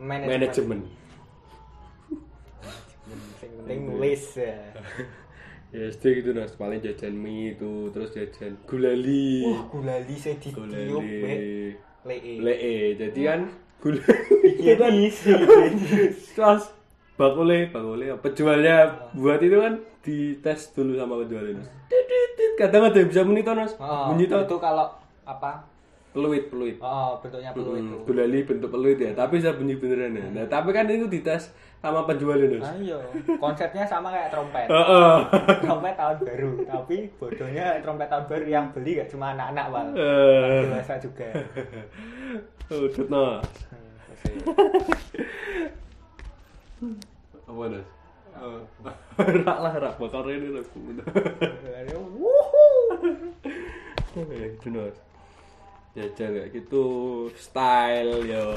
Speaker 2: Manajemen.
Speaker 1: Manajemen.
Speaker 2: Sing penting nulis. ya.
Speaker 1: Ya SD gitu Nas, paling jajan mie itu, terus jajan gulali.
Speaker 2: Wah, gulali saya ditiup be.
Speaker 1: Gulali. e.
Speaker 2: Lee.
Speaker 1: Lee, jadi kan gulali.
Speaker 2: Iya (laughs) isi.
Speaker 1: kan (laughs) terus bakule bakule penjualnya buat itu kan dites dulu sama penjual ini kadang ada yang bisa menit mas
Speaker 2: Oh,
Speaker 1: bunyi tau
Speaker 2: itu kalau apa?
Speaker 1: peluit peluit
Speaker 2: Oh, bentuknya peluit itu.
Speaker 1: Hmm, gulali bentuk peluit ya tapi bisa bunyi beneran ya nah tapi kan itu dites sama penjual ini mas
Speaker 2: Ayo, konsepnya sama kayak trompet.
Speaker 1: Heeh.
Speaker 2: Trompet tahun baru, tapi bodohnya trompet tahun baru yang beli gak cuma anak-anak, Wal.
Speaker 1: Eh,
Speaker 2: Dewasa
Speaker 1: (laughs)
Speaker 2: juga.
Speaker 1: udut Nas.
Speaker 2: Hmm, terus ya.
Speaker 1: apa Nas? Eh, rak lah rak bakal ini lah
Speaker 2: Gulali, Wuhuu.
Speaker 1: (laughs) Eh, itu Nos. Jajan kayak gitu, style yo.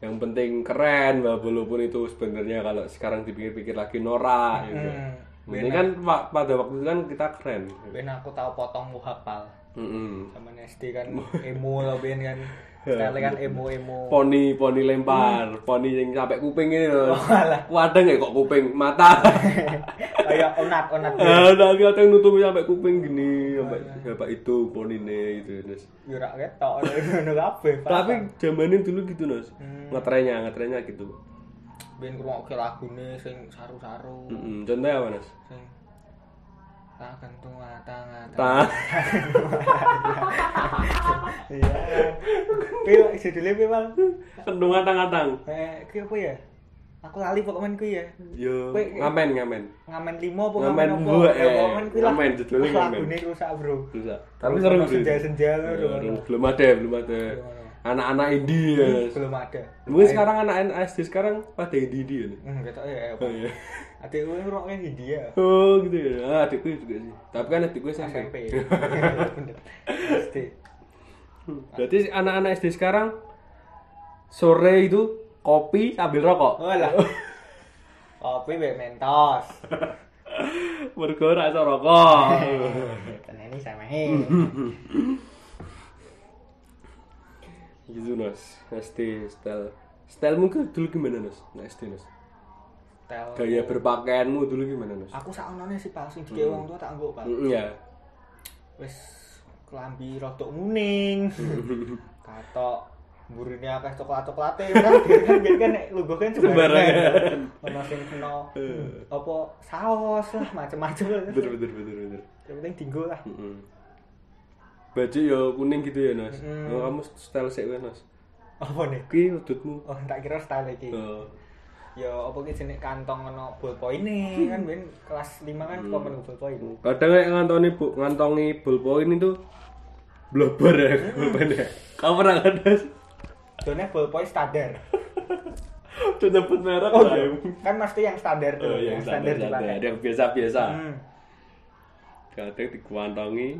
Speaker 1: Yang penting keren, bah, walaupun itu sebenarnya kalau sekarang dipikir-pikir lagi norak gitu.
Speaker 2: Hmm.
Speaker 1: Ini kan pa- pada waktu itu kan kita keren.
Speaker 2: Ben aku tahu potong muhab, Pal.
Speaker 1: Mm-mm.
Speaker 2: Zaman SD kan emo lah Ben kan.
Speaker 1: Eh.
Speaker 2: Style kan emo-emo.
Speaker 1: Poni, poni lempar, poni yang sampai kuping ini
Speaker 2: Hmm.
Speaker 1: loh.
Speaker 2: Oh, alah.
Speaker 1: Wadeng ya kok kuping,
Speaker 2: (laughs)
Speaker 1: mata.
Speaker 2: kayak onat onat
Speaker 1: Eh, tapi kadang nutupi sampai kuping gini, sampai sampai itu poni gitu. Terus
Speaker 2: yura ketok ngono kabeh
Speaker 1: Tapi zamanin dulu gitu Nos. Ngetrennya, ngetrennya gitu.
Speaker 2: ben krungokke lagune sing saru-saru
Speaker 1: Mm-mm. Contohnya apa Nos?
Speaker 2: sing tak kentung matang
Speaker 1: Ta. (laughs)
Speaker 2: iya kuwi judule kuwi mal
Speaker 1: Kendungan tangan-tang.
Speaker 2: eh kuwi apa ya aku lali pokoknya men kuwi ya
Speaker 1: Yo.
Speaker 2: Wih,
Speaker 1: Ngamen, ngamen.
Speaker 2: ngamen limo apa
Speaker 1: Ngamen
Speaker 2: apa
Speaker 1: mbok,
Speaker 2: Ya,
Speaker 1: eh.
Speaker 2: pokoknya men kuwi lah
Speaker 1: Ngamen, judulnya
Speaker 2: Wah,
Speaker 1: ngamen.
Speaker 2: lagune rusak bro
Speaker 1: Bisa.
Speaker 2: Terus
Speaker 1: Tapi seru
Speaker 2: ono
Speaker 1: sih. Iya.
Speaker 2: senja-senja ngono
Speaker 1: Belum ada, Hmm. belum ada.
Speaker 2: Ngono.
Speaker 1: anak-anak India.
Speaker 2: belum ada
Speaker 1: Mungkin sekarang anak SD sekarang pada India nih.
Speaker 2: hmm, gak tau ya
Speaker 1: Oh, iya.
Speaker 2: adik gue ngeroknya India
Speaker 1: Oh gitu ya. Ah, adikku juga sih. Tapi kan adikku SMP.
Speaker 2: SMP
Speaker 1: (laughs)
Speaker 2: Bener. pasti
Speaker 1: Hmm. Berarti anak-anak SD sekarang sore itu kopi sambil rokok.
Speaker 2: oh lah kopi be
Speaker 1: (laughs)
Speaker 2: mentos
Speaker 1: Mergo ora iso rokok. (laughs)
Speaker 2: tenang ini sama he
Speaker 1: gitu Nos. SD style. Stylemu ke dulu gimana Nos? Nah, SD Nos.
Speaker 2: tel
Speaker 1: Gaya berpakaianmu dulu gimana Nos?
Speaker 2: aku sakonone sih palsu dikek wong tua tak nggo pak
Speaker 1: Mm, Ya.
Speaker 2: wis kelambi rodok kuning
Speaker 1: (laughs)
Speaker 2: katok burine akeh coklat-coklate kan biarkan biarkan nek lungguh kan
Speaker 1: Sembarangan. Hmm.
Speaker 2: sembarangan ono sing kena hmm, apa saos lah macem-macem lah
Speaker 1: Bener bener bener bener.
Speaker 2: yang penting dinggo lah
Speaker 1: Mm-mm. Baju ya kuning gitu ya Nos. Oh, kamu style sik wae Nos.
Speaker 2: apa nih
Speaker 1: Ki udutmu.
Speaker 2: oh tak kira style iki
Speaker 1: Oh.
Speaker 2: ya apa ki jenis kantong ono ballpoint-e kan ben kelas 5
Speaker 1: Hmm.
Speaker 2: kan kok melu ballpoint
Speaker 1: kadang kayak ngantoni bu, ngantongi ballpoint itu blobar ya ballpoint ya kamu pernah ada
Speaker 2: Done ballpoint standar
Speaker 1: tuh nyebut merek
Speaker 2: oh
Speaker 1: lah
Speaker 2: iya.
Speaker 1: ya.
Speaker 2: kan mesti yang standar tuh
Speaker 1: oh, yang standar standar yang biasa biasa
Speaker 2: hmm.
Speaker 1: kadang dikuantongi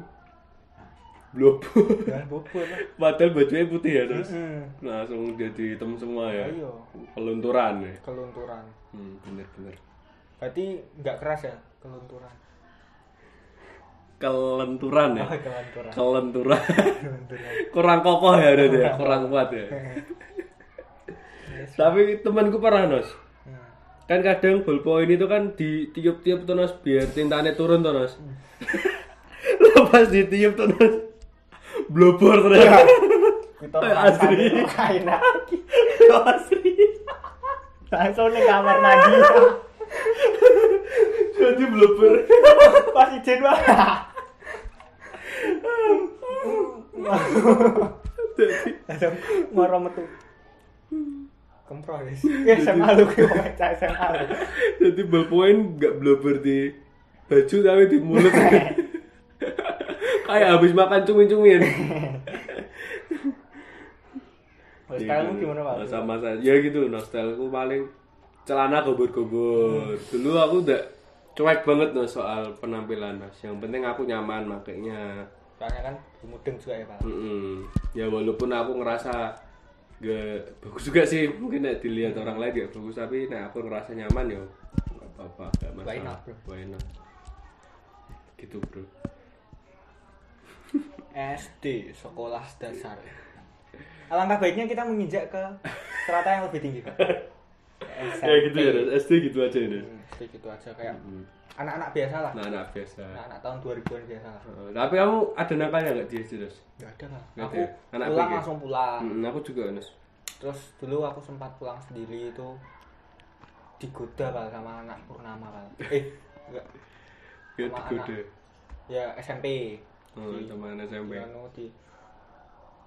Speaker 1: blobar
Speaker 2: dan bubur lah
Speaker 1: padahal bajunya putih ya terus
Speaker 2: hmm.
Speaker 1: langsung jadi hitam semua ya
Speaker 2: Iya,
Speaker 1: pelunturan ya
Speaker 2: kelunturan.
Speaker 1: hmm, bener bener
Speaker 2: Berarti nggak keras ya kelunturan.
Speaker 1: kelenturan ya
Speaker 2: Oh, (laughs) kelunturan.
Speaker 1: kelenturan (laughs)
Speaker 2: kelunturan. Hmm.
Speaker 1: kurang kokoh ya berarti ya kurang kuat ya tapi temanku pernah nos
Speaker 2: Hmm.
Speaker 1: kan kadang ballpoint itu kan ditiup-tiup tuh Nos, biar tintanya turun tuh Nos. (laughs) lepas ditiup tuh Nos, blubber ternyata
Speaker 2: Kita
Speaker 1: Eh,
Speaker 2: asli
Speaker 1: asli.
Speaker 2: kain lagi.
Speaker 1: Yo, (laughs) asli
Speaker 2: Langsung nih kamar mandi.
Speaker 1: jadi blubber
Speaker 2: Pas izin Pak.
Speaker 1: jadi
Speaker 2: Langsung ngoro metu. Kemproh guys. Ya SMA lu ki baca SMA lu.
Speaker 1: jadi ballpoint nggak blubber di baju tapi di mulut
Speaker 2: (laughs)
Speaker 1: kayak habis makan cumi-cumian
Speaker 2: Wes sekarang lu gimana Pak?
Speaker 1: sama saya Gitu. ya gitu nostalku paling celana gobor-gobor
Speaker 2: Hmm.
Speaker 1: dulu aku udah cuek banget no soal penampilan Nos. yang penting aku nyaman makainya
Speaker 2: Soalnya kan mudeng juga ya Pak.
Speaker 1: Mm-mm. ya walaupun aku ngerasa gak bagus juga sih mungkin nek dilihat orang lain gak bagus tapi nek aku ngerasa nyaman ya gak apa-apa gak masalah
Speaker 2: Why not, bro?
Speaker 1: Why not? gitu bro
Speaker 2: SD sekolah dasar alangkah baiknya kita menginjak ke strata yang lebih tinggi (laughs) Pak. SMP.
Speaker 1: ya gitu ya Nas. SD gitu aja ini
Speaker 2: Hmm, SD gitu aja kayak anak-anak biasa lah
Speaker 1: nah anak biasa
Speaker 2: anak-anak tahun 2000-an biasa lah
Speaker 1: Eh, tapi kamu ada nakalnya nggak di SD Nas?
Speaker 2: gak ada lah
Speaker 1: Nggak
Speaker 2: aku
Speaker 1: ada ya? Anak
Speaker 2: pulang
Speaker 1: BG?
Speaker 2: langsung pulang
Speaker 1: Mm, aku juga Nas.
Speaker 2: terus dulu aku sempat pulang sendiri itu digoda Pak, sama anak purnama Pak. eh enggak
Speaker 1: Ya
Speaker 2: Sama
Speaker 1: digoda.
Speaker 2: ya SMP
Speaker 1: Oh,
Speaker 2: Di-
Speaker 1: teman SMP.
Speaker 2: di anu di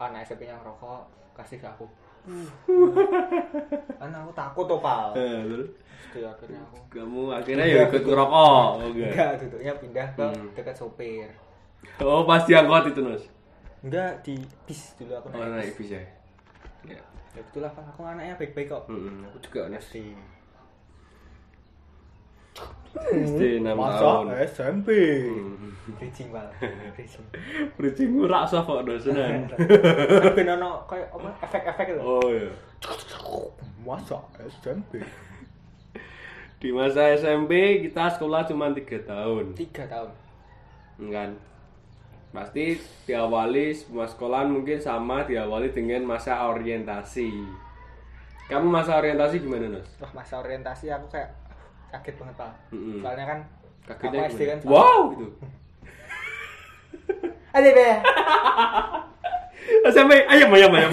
Speaker 2: anak SMP yang rokok kasih ke aku kan aku takut tuh pal
Speaker 1: Hmm. Eh, terus
Speaker 2: Terus akhirnya aku
Speaker 1: kamu akhirnya ya ikut ngerokok. Oh, enggak.
Speaker 2: enggak duduknya pindah ke
Speaker 1: Hmm.
Speaker 2: dekat sopir
Speaker 1: Oh, pasti angkot itu, Nas.
Speaker 2: enggak di bis dulu aku
Speaker 1: Oh,
Speaker 2: naik
Speaker 1: naik bis ya. Ya.
Speaker 2: ya itulah kan aku anaknya baik-baik kok
Speaker 1: Mm, aku juga Nas.
Speaker 2: SD
Speaker 1: SD 6 tahun. Hmm.
Speaker 2: SMP bridging
Speaker 1: (laughs)
Speaker 2: pal bridging
Speaker 1: Bridging ora sah kok dosenan.
Speaker 2: ben ono kayak apa efek-efek gitu. itu
Speaker 1: (laughs) Oh iya.
Speaker 2: masa SMP
Speaker 1: Di masa SMP kita sekolah cuma 3 tahun.
Speaker 2: tiga tahun
Speaker 1: kan pasti diawali semua sekolahan mungkin sama diawali dengan masa orientasi kamu masa orientasi gimana Nos?
Speaker 2: wah masa orientasi aku kayak kaget banget pak
Speaker 1: Mm-mm.
Speaker 2: soalnya kan
Speaker 1: kagetnya
Speaker 2: aku SD kan
Speaker 1: gimana?
Speaker 2: Pak.
Speaker 1: wow gitu
Speaker 2: ada be
Speaker 1: SMP ayam ayam ayam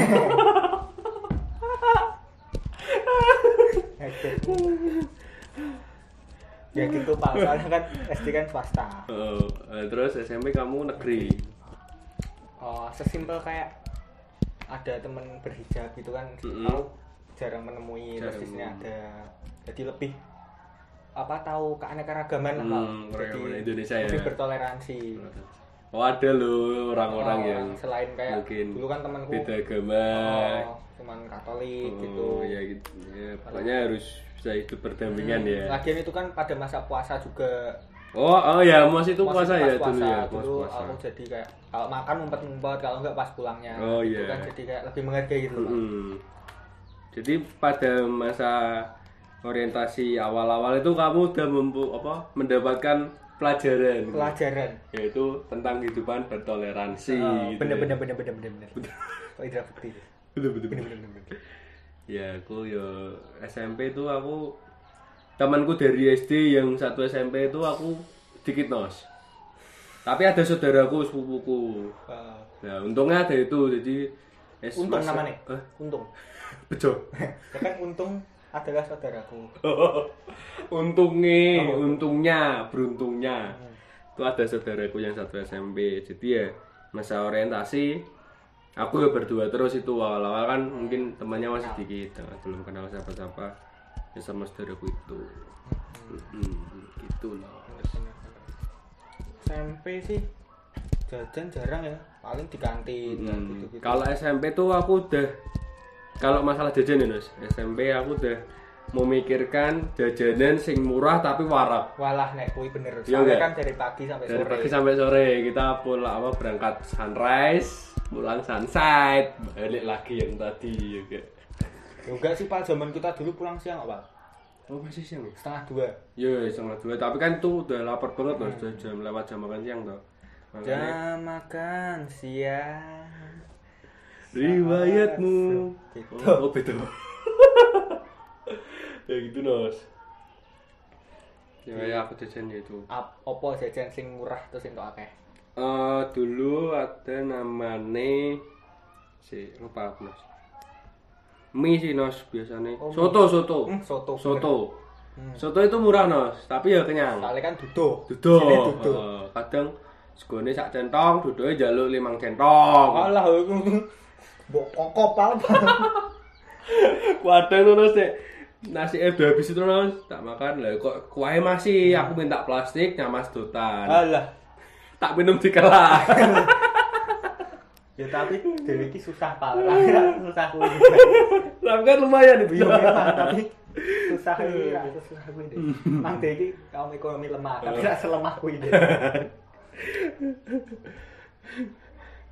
Speaker 1: (laughs)
Speaker 2: Kaget. ya gitu pak soalnya kan SD kan swasta
Speaker 1: Oh, eh, terus SMP kamu negeri
Speaker 2: oh, sesimpel kayak ada temen berhijab gitu kan
Speaker 1: Mm-mm.
Speaker 2: aku jarang menemui
Speaker 1: Jarang
Speaker 2: terus di sini
Speaker 1: menemui.
Speaker 2: ada jadi lebih apa tahu keanekaragaman lah
Speaker 1: Hmm,
Speaker 2: Pak.
Speaker 1: keanekaragaman Indonesia ya.
Speaker 2: lebih bertoleransi
Speaker 1: Oh ada loh orang-orang
Speaker 2: Oh,
Speaker 1: yang
Speaker 2: selain kayak
Speaker 1: ya. mungkin
Speaker 2: dulu kan temanku
Speaker 1: beda agama.
Speaker 2: oh, cuman Katolik gitu.
Speaker 1: Oh, ya gitu. Ya, pokoknya harus bisa hidup berdampingan ya.
Speaker 2: Lagian itu kan pada masa puasa juga.
Speaker 1: Oh, oh ya, Mas itu
Speaker 2: Pas-
Speaker 1: puasa
Speaker 2: pas
Speaker 1: ya dulu ya, Mas
Speaker 2: Dulu
Speaker 1: puasa.
Speaker 2: aku jadi kayak kalau makan ngumpet-ngumpet, kalau enggak pas pulangnya.
Speaker 1: Oh,
Speaker 2: Gitu
Speaker 1: iya.
Speaker 2: kan jadi kayak lebih menghargai gitu loh.
Speaker 1: Hmm. Jadi pada masa orientasi awal-awal itu kamu udah mempu, apa mendapatkan pelajaran gitu.
Speaker 2: Pelajaran.
Speaker 1: yaitu tentang kehidupan bertoleransi
Speaker 2: Oh,
Speaker 1: gitu
Speaker 2: bener
Speaker 1: ya.
Speaker 2: bener bener bener bener. Kok Indra Bekti?
Speaker 1: Bener, bener, bener.
Speaker 2: Bener bener bener.
Speaker 1: Eh,
Speaker 2: bener.
Speaker 1: ya aku ya SMP itu aku temanku dari SD yang satu SMP itu aku sedikit nos tapi ada saudaraku sepupuku
Speaker 2: Eh,
Speaker 1: nah untungnya ada itu jadi es-
Speaker 2: untung
Speaker 1: masa-
Speaker 2: namanya.
Speaker 1: Hah? (laughs)
Speaker 2: Untung.
Speaker 1: bejo
Speaker 2: Ya kan untung adalah saudaraku.
Speaker 1: untungnya untungnya beruntungnya
Speaker 2: Hmm.
Speaker 1: itu ada saudaraku yang satu SMP jadi ya masa orientasi aku ya berdua terus itu awal-awal kan mungkin temannya masih dikit eh, belum kenal siapa-siapa ya sama saudaraku itu
Speaker 2: Hmm.
Speaker 1: Mm-mm, gitu loh
Speaker 2: SMP sih jajan jarang ya, paling di kantin
Speaker 1: Mm.
Speaker 2: gitu gitu.
Speaker 1: kalau SMP tuh aku udah kalau masalah jajan ya Nus SMP aku udah memikirkan jajanan sing murah tapi warak
Speaker 2: Walah nek kuwi bener.
Speaker 1: Iya
Speaker 2: Soalnya
Speaker 1: nggak?
Speaker 2: kan dari pagi sampai
Speaker 1: dari
Speaker 2: sore.
Speaker 1: pagi sampai sore kita pulang apa berangkat sunrise pulang sunset balik lagi yang tadi juga
Speaker 2: Ya enggak sih Pak, zaman kita dulu pulang siang apa?
Speaker 1: oh masih siang ya
Speaker 2: Setengah dua.
Speaker 1: Yo, setengah dua tapi kan tuh udah lapar banget loh sudah jam lewat jam makan siang tuh makanya
Speaker 2: Hmm. Jam makan siang.
Speaker 1: riwayatmu
Speaker 2: Beda.
Speaker 1: oh, oh beda (laughs) ya gitu nos ya, ya aku jajan ya itu
Speaker 2: Ap- Opo jajan sing murah terus entuk akeh.
Speaker 1: Eh, dulu ada namanya si lupa aku nos mie sih nos biasanya
Speaker 2: Oh, mie.
Speaker 1: soto soto
Speaker 2: Hmm, soto.
Speaker 1: soto
Speaker 2: Hmm.
Speaker 1: soto itu murah nos tapi ya kenyang
Speaker 2: Soalnya kan dudo.
Speaker 1: duduk
Speaker 2: Sini dudo.
Speaker 1: Eh, kadang segone sak centong duduknya jaluk limang centong
Speaker 2: Alah iku. Mbok kokop apa?
Speaker 1: kadang nos sih nasi eh udah habis itu nos tak makan lah kok kuahnya masih aku minta plastik nyamas dotan
Speaker 2: Alah.
Speaker 1: tak minum di kelas (laughs)
Speaker 2: Ya tapi dhewe iki susah parah, susah kuwi.
Speaker 1: tapi kan lumayan itu
Speaker 2: Iya, memang, tapi susah ini ra susah kuwi deh. Mang Dek iki kaum ekonomi lemah, tapi ra selemah kuwi deh.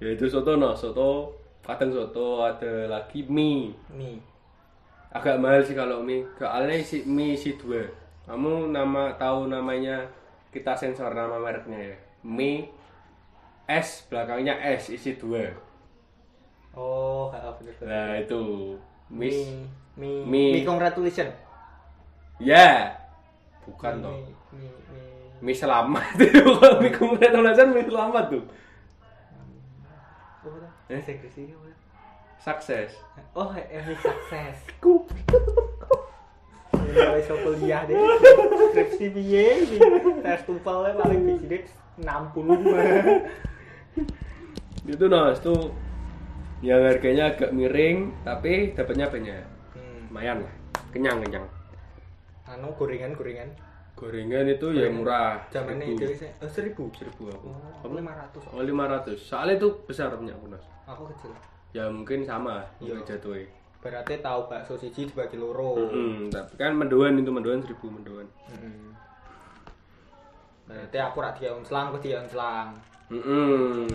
Speaker 1: ya itu soto no soto kadang soto ada lagi mie
Speaker 2: Nih.
Speaker 1: agak mahal sih kalau mie soalnya si mie si dua kamu nama tahu namanya kita sensor nama mereknya ya mie S belakangnya S isi dua
Speaker 2: Oh, heeh bener bener.
Speaker 1: nah itu mie
Speaker 2: mi mi
Speaker 1: Mi.
Speaker 2: mi congratulation.
Speaker 1: ya bukan toh
Speaker 2: Mi, mi, mi.
Speaker 1: mie selamat (laughs) itu kalau mie congratulation mie selamat tuh
Speaker 2: Apa tuh?
Speaker 1: Eh?
Speaker 2: Bahasa Inggris ini apa tuh?
Speaker 1: sukses
Speaker 2: Oh, eh, mi
Speaker 1: (laughs)
Speaker 2: sukses.
Speaker 1: Kup.
Speaker 2: Mulai iso kuliah deh. Skripsi piye? ini? Tes TOEFL paling di sini
Speaker 1: (laughs)
Speaker 2: 60.
Speaker 1: Hmm. itu nah itu yang harganya agak miring tapi dapatnya banyak
Speaker 2: Hmm.
Speaker 1: lumayan lah kenyang kenyang
Speaker 2: Anu gorengan-gorengan.
Speaker 1: gorengan itu ya murah
Speaker 2: Zaman ini dhewe
Speaker 1: seribu,
Speaker 2: sih eh, 1000.
Speaker 1: seribu aku
Speaker 2: Oh,
Speaker 1: Kamu?
Speaker 2: 500.
Speaker 1: oh lima ratus soalnya itu besar punya aku Nas.
Speaker 2: Aku kecil.
Speaker 1: ya mungkin sama
Speaker 2: Iya.
Speaker 1: juga jatuhnya
Speaker 2: berarti tahu bakso siji dibagi loro
Speaker 1: hmm, tapi kan mendoan itu mendoan seribu mendoan
Speaker 2: Mm-mm. Hmm. berarti aku rak diaun selang aku diaun selang
Speaker 1: hmm.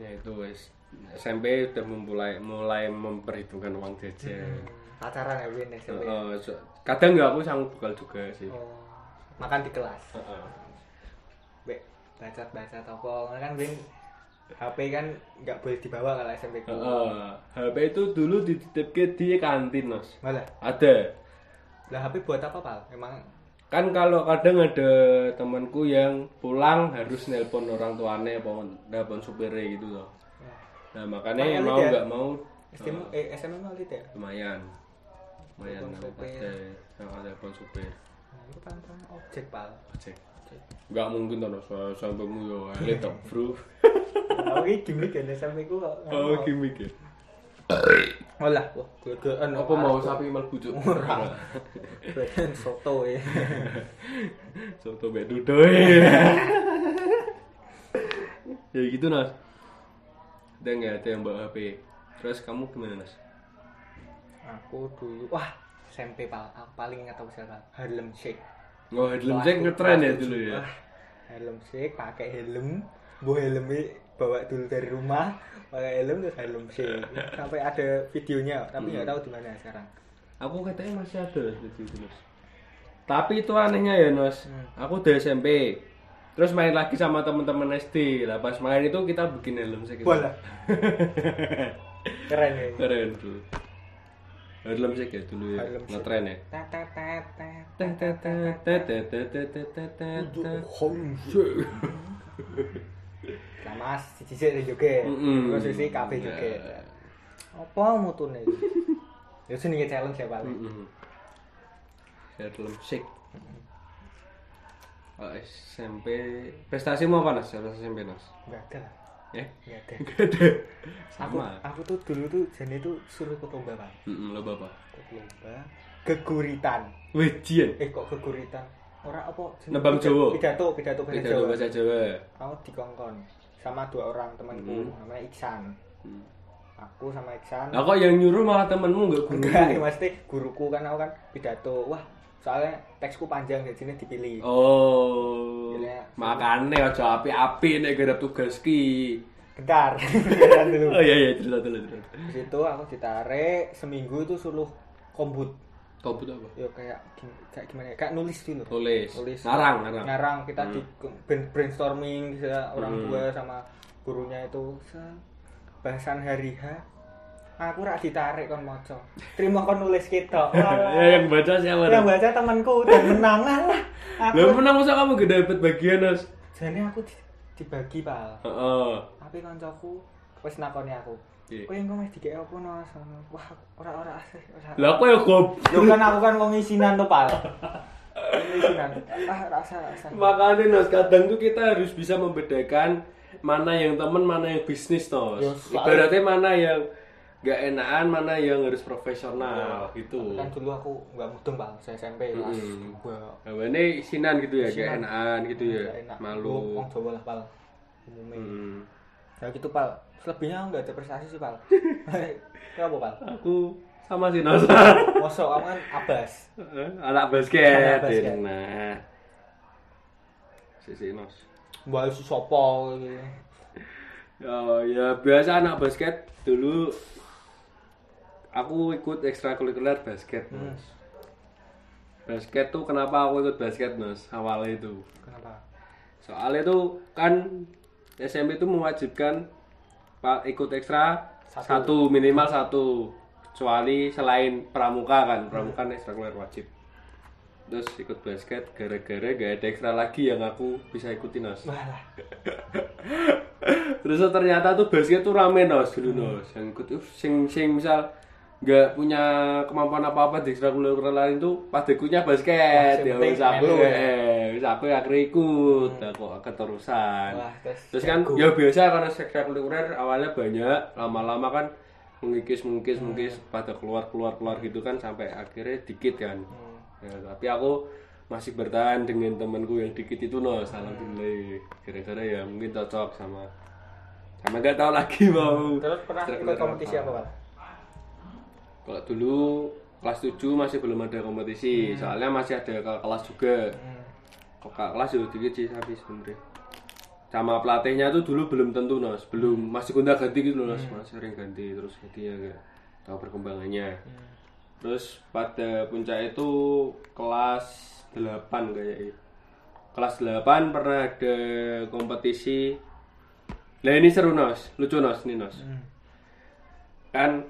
Speaker 1: ya itu wes SMP udah mulai mulai memperhitungkan uang jajan
Speaker 2: pacaran ya Win ya
Speaker 1: Eh,
Speaker 2: SMP
Speaker 1: eh, so- kadang nggak aku sanggup bekal juga sih
Speaker 2: Oh, makan di kelas
Speaker 1: Eh, eh.
Speaker 2: Wek, baca baca toko Karena kan Win HP kan nggak boleh dibawa kalau SMP ku
Speaker 1: Heeh. Eh, HP itu dulu dititipke di kantin, Mas.
Speaker 2: malah
Speaker 1: Ada.
Speaker 2: lah HP buat apa pal emang
Speaker 1: Kan kalau kadang ada temanku yang pulang harus nelpon orang tuane apa nelpon supirnya gitu loh.
Speaker 2: ya.
Speaker 1: Nah, makanya
Speaker 2: Makanya
Speaker 1: mau
Speaker 2: dia-
Speaker 1: nggak mau
Speaker 2: STM eh SMA malah tidak
Speaker 1: lumayan. Lumayan
Speaker 2: Nelpon
Speaker 1: nelpon
Speaker 2: supir.
Speaker 1: nelpon supir.
Speaker 2: nah, itu pantang objek
Speaker 1: (laughs)
Speaker 2: pal
Speaker 1: Ojek.
Speaker 2: Objek.
Speaker 1: Nggak mungkin toh Mas. sampai mu yo elit toh, (laughs) Bro.
Speaker 2: Aku ini gimmick ya SMP ku kok
Speaker 1: Oh, gimmick ya.
Speaker 2: oh lah wah gede-gedean
Speaker 1: Apa mau sapi mlebu cuk?
Speaker 2: Ora.
Speaker 1: Nah.
Speaker 2: Gede-gedean soto ya (laughs)
Speaker 1: Soto mbek dudoe. (laughs) ya gitu Nos dan nggak ada yang bawa HP terus kamu gimana Nos
Speaker 2: aku dulu wah SMP pal aku paling ingat aku siapa Harlem Shake
Speaker 1: oh Harlem
Speaker 2: Wah,
Speaker 1: Shake
Speaker 2: aku-
Speaker 1: ngetren ya
Speaker 2: aku
Speaker 1: dulu ya
Speaker 2: sumpah. Helm shake, pakai helm. Bu helmnya bawa dulu dari rumah, pakai helm terus helm shake. Sampai ada videonya, tapi nggak tahu di mana sekarang.
Speaker 1: aku katanya masih ada seperti itu Nos tapi itu anehnya ya Nos
Speaker 2: Hmm.
Speaker 1: aku dari SMP terus main lagi sama teman-teman SD lah pas main itu kita bikin helm shake
Speaker 2: Bola. Keren ya.
Speaker 1: (laughs) keren tuh Harlem Shake ya dulu ya
Speaker 2: Harlem Shake.
Speaker 1: ngetren ya
Speaker 2: Tet, tet, tet, tet.
Speaker 1: Mm-mm.
Speaker 2: Helm shake. Nah, mas, siji sik ning joget. Terus sisi kabeh
Speaker 1: Iya.
Speaker 2: joget. Apa mutune? Ya jenenge challenge ya paling.
Speaker 1: Mm-mm. Harlem Shake. Oh, SMP prestasimu apa nas? Prestasi SMP nas?
Speaker 2: Enggak ada lah.
Speaker 1: Ya?
Speaker 2: Enggak ada. Aku,
Speaker 1: Sama.
Speaker 2: aku tuh dulu tuh jane tuh suruh ikut lomba, Bang.
Speaker 1: Mm-mm, Lo bapak.
Speaker 2: Ikut lomba geguritan.
Speaker 1: Wijian.
Speaker 2: Eh kok geguritan? Ora apa? jeneng-
Speaker 1: Nebang
Speaker 2: pidat-
Speaker 1: Jawa.
Speaker 2: Pidato, pidato bahasa
Speaker 1: Tidak
Speaker 2: Jawa.
Speaker 1: ada bahasa Jawa.
Speaker 2: Aku dikongkon sama dua orang temanku, namanya Iksan.
Speaker 1: Hmm.
Speaker 2: Aku sama Iksan.
Speaker 1: Nah kok yang nyuruh malah temenmu nggak guru?
Speaker 2: Enggak, ya, mesti guruku kan aku kan pidato. Wah, soalnya teksku panjang jadi ini dipilih.
Speaker 1: Oh.
Speaker 2: Gila.
Speaker 1: Makanya aja api-api nek garap tugas ki. (laughs)
Speaker 2: Bentar. Bentar dulu.
Speaker 1: Oh iya iya cerita dulu cerita.
Speaker 2: Di situ aku ditarik seminggu itu suruh kombut.
Speaker 1: Kau butuh apa?
Speaker 2: Yo kayak gim- kayak gimana ya? Kayak nulis dulu.
Speaker 1: Tulis.
Speaker 2: Tulis.
Speaker 1: Ngarang ngarang.
Speaker 2: Ngarang kita di brain- brainstorming ya, orang
Speaker 1: Nah. Hmm.
Speaker 2: tua sama gurunya itu Se- bahasan hari H. Aku rak ditarik kon moco. Terima kon nulis ketok.
Speaker 1: ya yang baca siapa?
Speaker 2: Yang baca temanku dan menangan lah. Aku
Speaker 1: Lah menang masa kamu gak dapet bagian, Nas?
Speaker 2: jadi aku di- dibagi pal
Speaker 1: Heeh.
Speaker 2: tapi kancaku wis nakoni aku
Speaker 1: Iya.
Speaker 2: kowe engko wis dikek opo no sono wah ora ora asih ora
Speaker 1: Lah kok ya gob.
Speaker 2: yo kan aku kan wong isinan to pal Wong isinan ah rasa rasa
Speaker 1: Makanya Nos, kadang tuh kita harus bisa membedakan mana yang temen, mana yang bisnis, Nos.
Speaker 2: Ya, soalnya-
Speaker 1: Ibaratnya mana yang gak enakan, mana yang harus profesional gitu.
Speaker 2: kan dulu aku nggak mudeng pal saya SMP kelas
Speaker 1: Mm-mm.
Speaker 2: dua
Speaker 1: Nah, ini isinan gitu ya, gak
Speaker 2: Isinan.
Speaker 1: enakan gitu ya.
Speaker 2: Nggak enak Wong-
Speaker 1: Malu.
Speaker 2: wong Jawa lah pal umumnya
Speaker 1: Hmm.
Speaker 2: ya gitu pal selebihnya aku nggak ada prestasi sih
Speaker 1: (laughs)
Speaker 2: pal kenapa pal
Speaker 1: Aku sama sih, Nos.
Speaker 2: mosok aku kan abas
Speaker 1: (laughs) Anak basket.
Speaker 2: Anak basket.
Speaker 1: Nah. Sisi, Nos.
Speaker 2: mbak isu sopo gitu
Speaker 1: Ya, ya biasa anak basket dulu aku ikut ekstrakurikuler basket mas. Basket tuh kenapa aku ikut basket mas awalnya itu
Speaker 2: kenapa
Speaker 1: soalnya tuh kan SMP itu mewajibkan pak ikut ekstra
Speaker 2: Satu.
Speaker 1: satu. minimal satu kecuali selain pramuka kan pramuka kan ekstrakurikuler wajib terus ikut basket gara-gara gak ada ekstra lagi yang aku bisa
Speaker 2: (laughs)
Speaker 1: ikutin mas
Speaker 2: wah lah
Speaker 1: Terus ternyata tuh basket tuh rame nos dulu
Speaker 2: Hmm.
Speaker 1: nos. Yang ikut uh, sing sing misal nggak punya kemampuan apa-apa di ekstrakurikuler lain tuh pas ikutnya basket
Speaker 2: Wah,
Speaker 1: ya
Speaker 2: yang penting
Speaker 1: wis aku
Speaker 2: melu ya. Hmm.
Speaker 1: eh, wis aku akhirnya ikut Lah, kok keterusan
Speaker 2: wah terus
Speaker 1: terus kan ya biasa karena ekstrakurikuler awalnya banyak lama-lama kan mengikis mengikis mengikis
Speaker 2: Hmm.
Speaker 1: pada keluar keluar keluar gitu kan sampai akhirnya dikit kan
Speaker 2: Hmm.
Speaker 1: Ya, tapi aku masih bertahan dengan temanku yang dikit itu no alhamdulillah kira-kira ya mungkin cocok sama sama nggak tahu lagi (laughs) mau
Speaker 2: Terus pernah ikut
Speaker 1: Ekstrakurikuler
Speaker 2: kompetisi apa, Pak?
Speaker 1: kalau dulu kelas 7 masih belum ada kompetisi soalnya masih ada kakak kelas juga Kok kakak kelas juga dikit sih tapi sebenernya sama pelatihnya tuh dulu belum tentu nos belum masih gonta ganti gitu loh nos masih sering ganti terus ganti ya nggak tahu perkembangannya terus pada puncak itu kelas 8 kayaknya kelas 8 pernah ada kompetisi nah ini seru nos lucu nos ini nos kan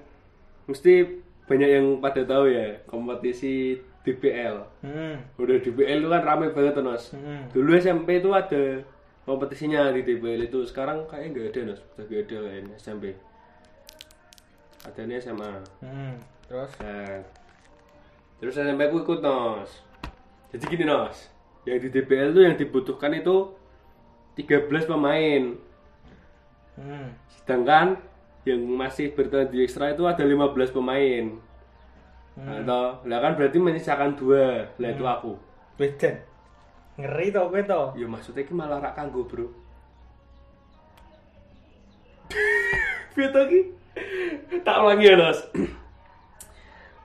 Speaker 1: mesti banyak yang pada tahu ya kompetisi DBL
Speaker 2: Hmm.
Speaker 1: udah DBL itu kan rame banget tuh, Nos
Speaker 2: Hmm.
Speaker 1: dulu SMP itu ada kompetisinya di DBL itu sekarang kayaknya nggak ada Nos udah nggak ada kayaknya SMP adanya SMA
Speaker 2: Hmm. Terus
Speaker 1: Nah, terus SMP ku ikut Nos jadi gini Nos yang di DBL tuh yang dibutuhkan itu 13 pemain
Speaker 2: hmm.
Speaker 1: sedangkan yang masih bertahan di ekstra itu ada 15 pemain atau lah kan berarti menyisakan dua lah itu aku
Speaker 2: Wedan. Ngeri to kowe to.
Speaker 1: (laughs) ya maksudnya ini malah rak kanggo bro Piye to ki? Tak ulangi ya, (clears throat) Nos.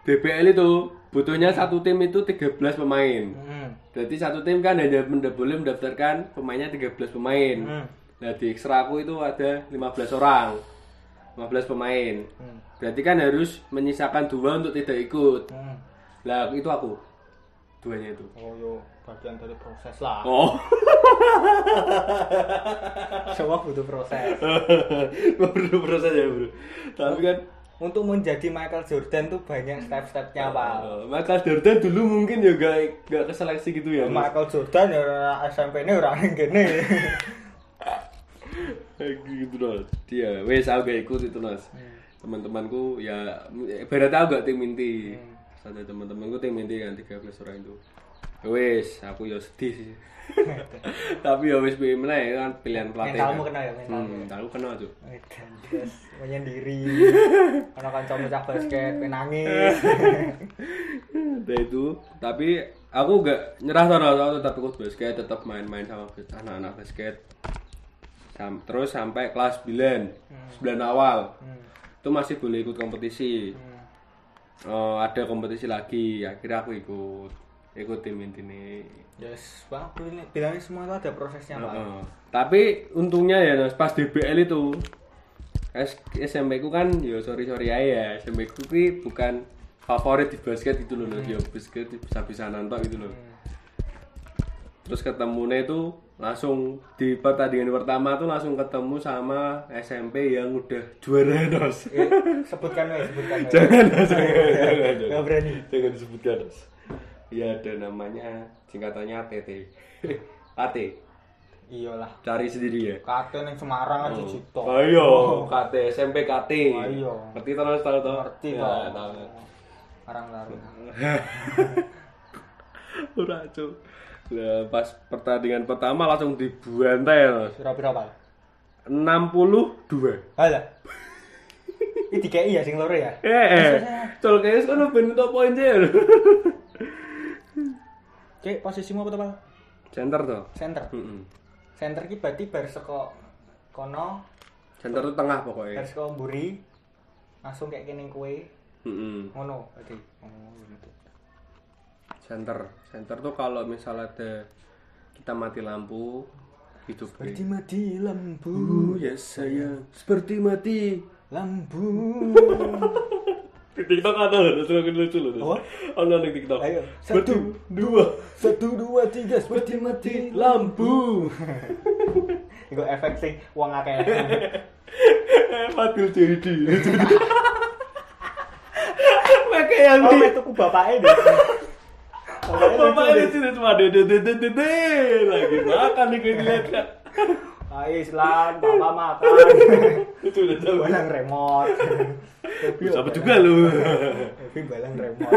Speaker 1: BBL itu butuhnya satu tim itu 13 pemain.
Speaker 2: Hmm.
Speaker 1: Berarti satu tim kan hanya menda- boleh mendaftarkan pemainnya 13 pemain.
Speaker 2: Hmm.
Speaker 1: Nah, di ekstra aku itu ada 15 orang. 15 pemain.
Speaker 2: Hmm.
Speaker 1: Berarti kan harus menyisakan dua untuk tidak ikut.
Speaker 2: Hmm.
Speaker 1: Lah, itu aku. Duanya itu. (laughs)
Speaker 2: Oh, yo, bagian dari proses lah.
Speaker 1: Oh.
Speaker 2: (laughs) Semua butuh proses.
Speaker 1: perlu proses ya, Bro. Tapi kan
Speaker 2: Untuk menjadi Michael Jordan tuh banyak step-stepnya, Pak.
Speaker 1: eh, Michael Jordan dulu mungkin ya gak, gak keseleksi gitu ya. Mas.
Speaker 2: Michael Jordan ya orang SMP ini orang yang
Speaker 1: (laughs)
Speaker 2: gini.
Speaker 1: Kayak Eh, gitu Nos. Dia wes aku gak ikut itu Nos.
Speaker 2: Hmm.
Speaker 1: Teman-temanku ya ibarat aku gak tim inti.
Speaker 2: Hmm.
Speaker 1: Ada teman-temanku tim inti kan 13 orang itu. Ya Wes aku ya sedih
Speaker 2: (laughs)
Speaker 1: sih. Tapi ya wes pilih meneh kan pilihan pelatih.
Speaker 2: mentalmu
Speaker 1: kan.
Speaker 2: kena ya mental.
Speaker 1: Hmm, aku kena tuh.
Speaker 2: Edan, Terus menyendiri. Karena kanca pecah basket,
Speaker 1: (laughs)
Speaker 2: penangis.
Speaker 1: Nah itu, tapi aku gak nyerah sama aku tetap ikut basket, tetap main-main sama bas- anak-anak basket. Sam- terus sampai kelas 9, 9 awal. Itu masih boleh ikut kompetisi. Eh, ada kompetisi lagi, akhirnya aku ikut. Ikut tim inti nih.
Speaker 2: Yes, Pak, bilang- bilangin semua itu ada prosesnya, Pak.
Speaker 1: Eh, tapi untungnya ya Nas, pas DBL itu S- SMP ku kan ya sorry sorry aja ya SMP ku ki bukan favorit di basket gitu loh Nas. ya basket bisa-bisa nantok gitu loh terus ketemunya itu langsung di pertandingan pertama tuh langsung ketemu sama SMP yang udah juara (laughs) Nos
Speaker 2: Eh, sebutkan weh, sebutkan weh.
Speaker 1: (laughs) jangan Nos jangan, jangan,
Speaker 2: Gak
Speaker 1: jangan.
Speaker 2: berani.
Speaker 1: Jangan disebutkan Nos ya ada namanya singkatannya (laughs) PT AT
Speaker 2: Iyalah.
Speaker 1: cari sendiri ya
Speaker 2: Katen yang Semarang
Speaker 1: Oh.
Speaker 2: aja Cipto.
Speaker 1: Ayo, KT SMP KT.
Speaker 2: Ayo.
Speaker 1: Ngerti to Mas tahu to?
Speaker 2: Ngerti,
Speaker 1: Ya,
Speaker 2: Pak.
Speaker 1: tahu.
Speaker 2: Orang larang.
Speaker 1: Ora, Cuk. Lah, pas pertandingan pertama langsung dibantai Mas.
Speaker 2: Pira-pira, Pak?
Speaker 1: 62.
Speaker 2: (laughs) Halah. Ini DKI ya sing loro ya?
Speaker 1: Eh, eh. Col kayaknya sekarang ben untuk poin aja.
Speaker 2: Oke, posisimu apa tuh, Pak?
Speaker 1: Center to.
Speaker 2: Center.
Speaker 1: Heeh.
Speaker 2: Center ki berarti bar saka kono,
Speaker 1: Center tuh tengah
Speaker 2: bar
Speaker 1: pokoknya.
Speaker 2: saka mburi langsung kayak kene kue
Speaker 1: Heeh.
Speaker 2: ngono berarti. Oh, gitu.
Speaker 1: Center. Center tuh kalau misalnya ada kita mati lampu hidup
Speaker 2: Berarti mati lampu,
Speaker 1: yes saya seperti mati
Speaker 2: lampu. (laughs)
Speaker 1: Di TikTok kan ada loh, terus aku lucu loh.
Speaker 2: Apa?
Speaker 1: Ada di TikTok.
Speaker 2: Ayo,
Speaker 1: Satu, dua,
Speaker 2: Satu, dua, tiga, seperti
Speaker 1: mati lampu.
Speaker 2: Iku efek sing wong (laughs) akeh.
Speaker 1: Fatil jadi. Pakai
Speaker 2: Oh,
Speaker 1: yang di.
Speaker 2: mek tuku bapake deh. Bapaknya lucu
Speaker 1: Bapak ini
Speaker 2: deh.
Speaker 1: tidak cuma dede dede dede lagi makan nih kayak dilihat kan.
Speaker 2: Ais (laughs) lan, Ah, bapak makan.
Speaker 1: Itu udah tahu. (laughs)
Speaker 2: Balang remote.
Speaker 1: Sama juga lu.
Speaker 2: Tapi balang remote.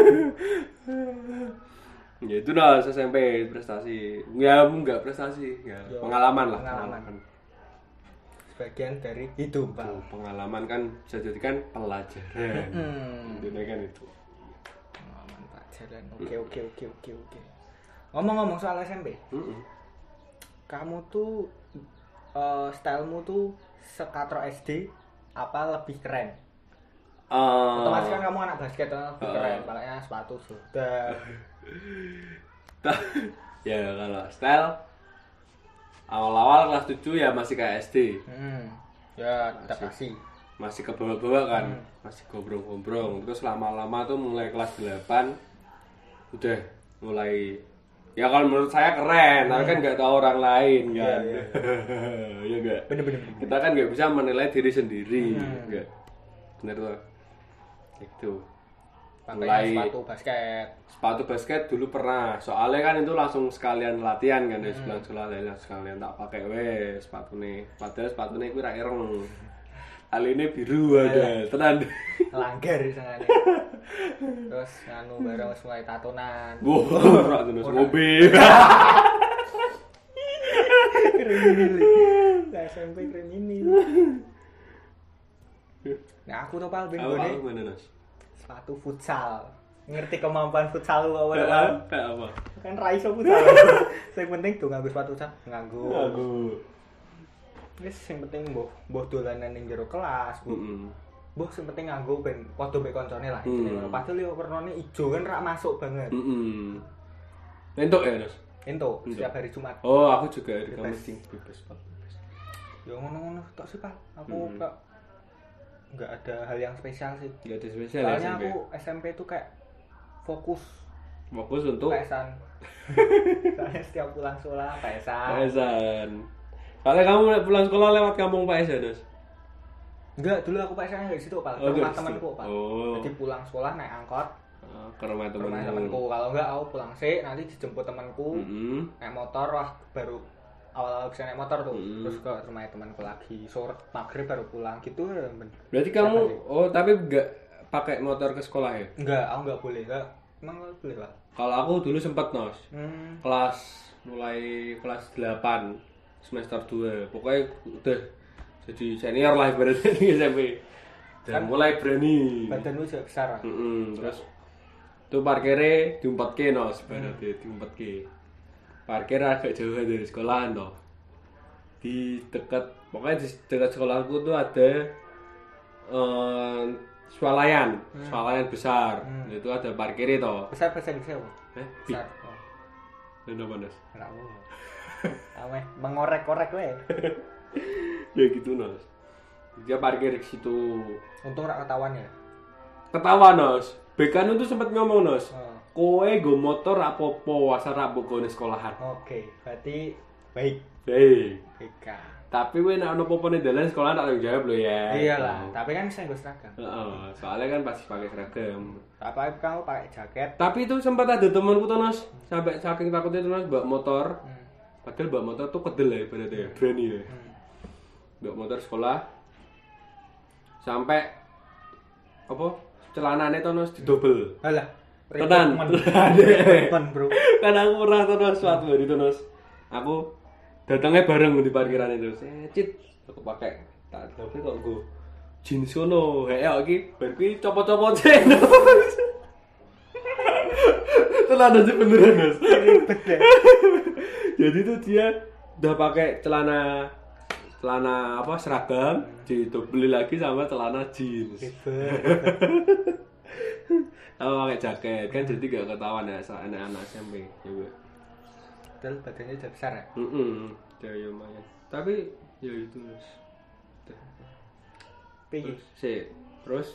Speaker 1: Ya itu nah SMP prestasi. Ya enggak prestasi, ya
Speaker 2: Ya,
Speaker 1: pengalaman lah.
Speaker 2: pengalaman. Sebagian dari hidup, Pak.
Speaker 1: Pengalaman. Pengalaman kan bisa jadikan pelajaran.
Speaker 2: Hmm.
Speaker 1: Intinya kan itu.
Speaker 2: Pengalaman pelajaran. Oke, oke, oke, oke, oke. Ngomong-ngomong soal SMP,
Speaker 1: Mm-mm.
Speaker 2: kamu tuh eh, stylemu tuh sekatro SD apa lebih keren?
Speaker 1: Ah.
Speaker 2: Otomatis kan kamu anak basket kan lebih
Speaker 1: Oh.
Speaker 2: keren, makanya sepatu
Speaker 1: (laughs)
Speaker 2: sudah.
Speaker 1: Ta- (laughs) ya kalau style awal-awal kelas 7 ya masih kayak SD
Speaker 2: Hmm. Ya, adaptasi.
Speaker 1: masih ke bawah-bawah kan
Speaker 2: Hmm.
Speaker 1: masih gombrong-gombrong terus lama-lama tuh mulai kelas 8 udah mulai ya kalau menurut saya keren tapi kan nggak tahu orang lain kan
Speaker 2: Hmm. iya.
Speaker 1: (laughs) ya enggak
Speaker 2: Bener-bener.
Speaker 1: kita kan nggak bisa menilai diri sendiri
Speaker 2: Hmm.
Speaker 1: enggak bener tuh itu
Speaker 2: Pakainya
Speaker 1: Mulai-
Speaker 2: sepatu basket.
Speaker 1: sepatu basket dulu pernah soalnya kan itu langsung sekalian latihan kan
Speaker 2: Hmm.
Speaker 1: dari sebelah sekolah dari sekalian tak pakai weh sepatu nih padahal sepatu nih gue ireng kali ini biru ada
Speaker 2: (laughs)
Speaker 1: tenan
Speaker 2: Langgar misalnya. Terus nganu bareng
Speaker 1: Hmm.
Speaker 2: wis mulai tatonan.
Speaker 1: wow ora terus ngobe
Speaker 2: (laughs) kriminal lah Nah, SMP kriminal nah aku tuh pal
Speaker 1: apa
Speaker 2: bingung
Speaker 1: gimana nas
Speaker 2: sepatu futsal ngerti kemampuan futsal lu awal awal
Speaker 1: apa apa (laughs)
Speaker 2: kan raiso futsal yang penting tuh nganggo sepatu futsal nganggo
Speaker 1: aku
Speaker 2: wis sing penting mbok mbok dolanan ning jero kelas mbok
Speaker 1: Mm-mm.
Speaker 2: mbok sing penting nganggo ben padha mek koncone lah istilahnya
Speaker 1: Hmm.
Speaker 2: ngono. padahal yo warnane ijo kan rak masuk banget
Speaker 1: Mm-mm. Entuk ya, Nos?
Speaker 2: ento setiap hari Jumat
Speaker 1: Oh, aku juga hari
Speaker 2: Bebas.
Speaker 1: Kamis sing bebas Pak. Bebas.
Speaker 2: yo Ya, ngono-ngono tok sih Pak aku kok nggak ada hal yang spesial sih
Speaker 1: Nggak ada spesial ya
Speaker 2: soalnya
Speaker 1: SMP.
Speaker 2: aku SMP tuh kayak fokus
Speaker 1: Fokus untuk
Speaker 2: pesan soalnya setiap pulang sekolah pesan
Speaker 1: Pak Esan. Soalnya kamu le- pulang sekolah lewat kampung Pak Esan, Nos?
Speaker 2: Enggak, dulu aku pacarnya dari situ, Pak. Ke
Speaker 1: Oh,
Speaker 2: rumah
Speaker 1: dari situ.
Speaker 2: temanku, Pak.
Speaker 1: Oh.
Speaker 2: Jadi pulang sekolah naik angkot,
Speaker 1: Oh, ke rumah
Speaker 2: ke rumah
Speaker 1: teman-teman.
Speaker 2: temanku. Kalau enggak aku pulang sih, nanti dijemput temanku
Speaker 1: Mm-mm.
Speaker 2: naik motor lah baru awal-awal bisa naik motor tuh.
Speaker 1: Mm.
Speaker 2: Terus ke rumah temanku lagi, sore maghrib baru pulang gitu. Ben.
Speaker 1: Berarti kamu oh, tapi nggak pakai motor ke sekolah ya?
Speaker 2: Enggak, aku enggak boleh, enggak. Emang enggak boleh, Pak?
Speaker 1: Kalau aku dulu sempat, Nos.
Speaker 2: Hmm.
Speaker 1: kelas mulai kelas 8 semester 2 pokoknya udah jadi senior lah ibaratnya di SMP
Speaker 2: Kan
Speaker 1: dan mulai berani
Speaker 2: Badan lu juga besar. Pak.
Speaker 1: Mm-mm, terus itu parkirnya diumpetke no sebenarnya diumpetke parkir agak jauh dari sekolahan toh di dekat pokoknya di dekat sekolahku tuh ada eh, swalayan swalayan besar Nah, itu ada parkirnya toh
Speaker 2: Besar bahasa Inggrisnya apa?
Speaker 1: eh di
Speaker 2: Besar. Oh,
Speaker 1: dan apa Nas?
Speaker 2: enggak tahu. Ameh mengorek-orek we.
Speaker 1: ya gitu nos dia parkir di situ
Speaker 2: Untung rak ketahuan ya.
Speaker 1: ketawa nos Bekan itu sempat ngomong nos
Speaker 2: Oh.
Speaker 1: kowe go motor apa-apa asal rabu kowe sekolahan
Speaker 2: Oke, berarti baik.
Speaker 1: hei
Speaker 2: Baik.
Speaker 1: tapi kowe nek ono apa-apa ning dalan sekolahan tak tanggung jawab lho ya
Speaker 2: Iyalah, tapi kan saya gue seragam.
Speaker 1: Heeh, soalnya kan pasti pakai seragam
Speaker 2: Apa kamu pakai jaket?
Speaker 1: tapi itu sempat ada temanku tuh nos sampai saking takutnya tuh nos bawa motor
Speaker 2: Hmm.
Speaker 1: padahal bawa motor tuh kedel ya ibaratnya ya berani ya
Speaker 2: Hmm.
Speaker 1: bawa motor sekolah sampai apa celananya tuh nos didobel
Speaker 2: Alah,
Speaker 1: Tenan, (laughs)
Speaker 2: rekrutmen.
Speaker 1: tenan.
Speaker 2: Rekrutmen, Bro.
Speaker 1: kan aku pernah terus suatu hari terus aku datangnya bareng di parkiran itu Eh, cit aku pakai tak tapi kok gue jeans kono kayak ya iki bar kuwi copot-copot telan aja beneran Mas.
Speaker 2: Betul.
Speaker 1: jadi tuh dia udah pakai celana celana apa seragam didobeli lagi sama celana jeans aku pakai jaket kan jadi gak ketahuan ya sa- anak-anak SMP juga
Speaker 2: Betul, badannya udah besar ya.
Speaker 1: Mm-mm. Ya, ya lumayan. Tapi ya itu terus.
Speaker 2: Piye?
Speaker 1: Terus sih. Terus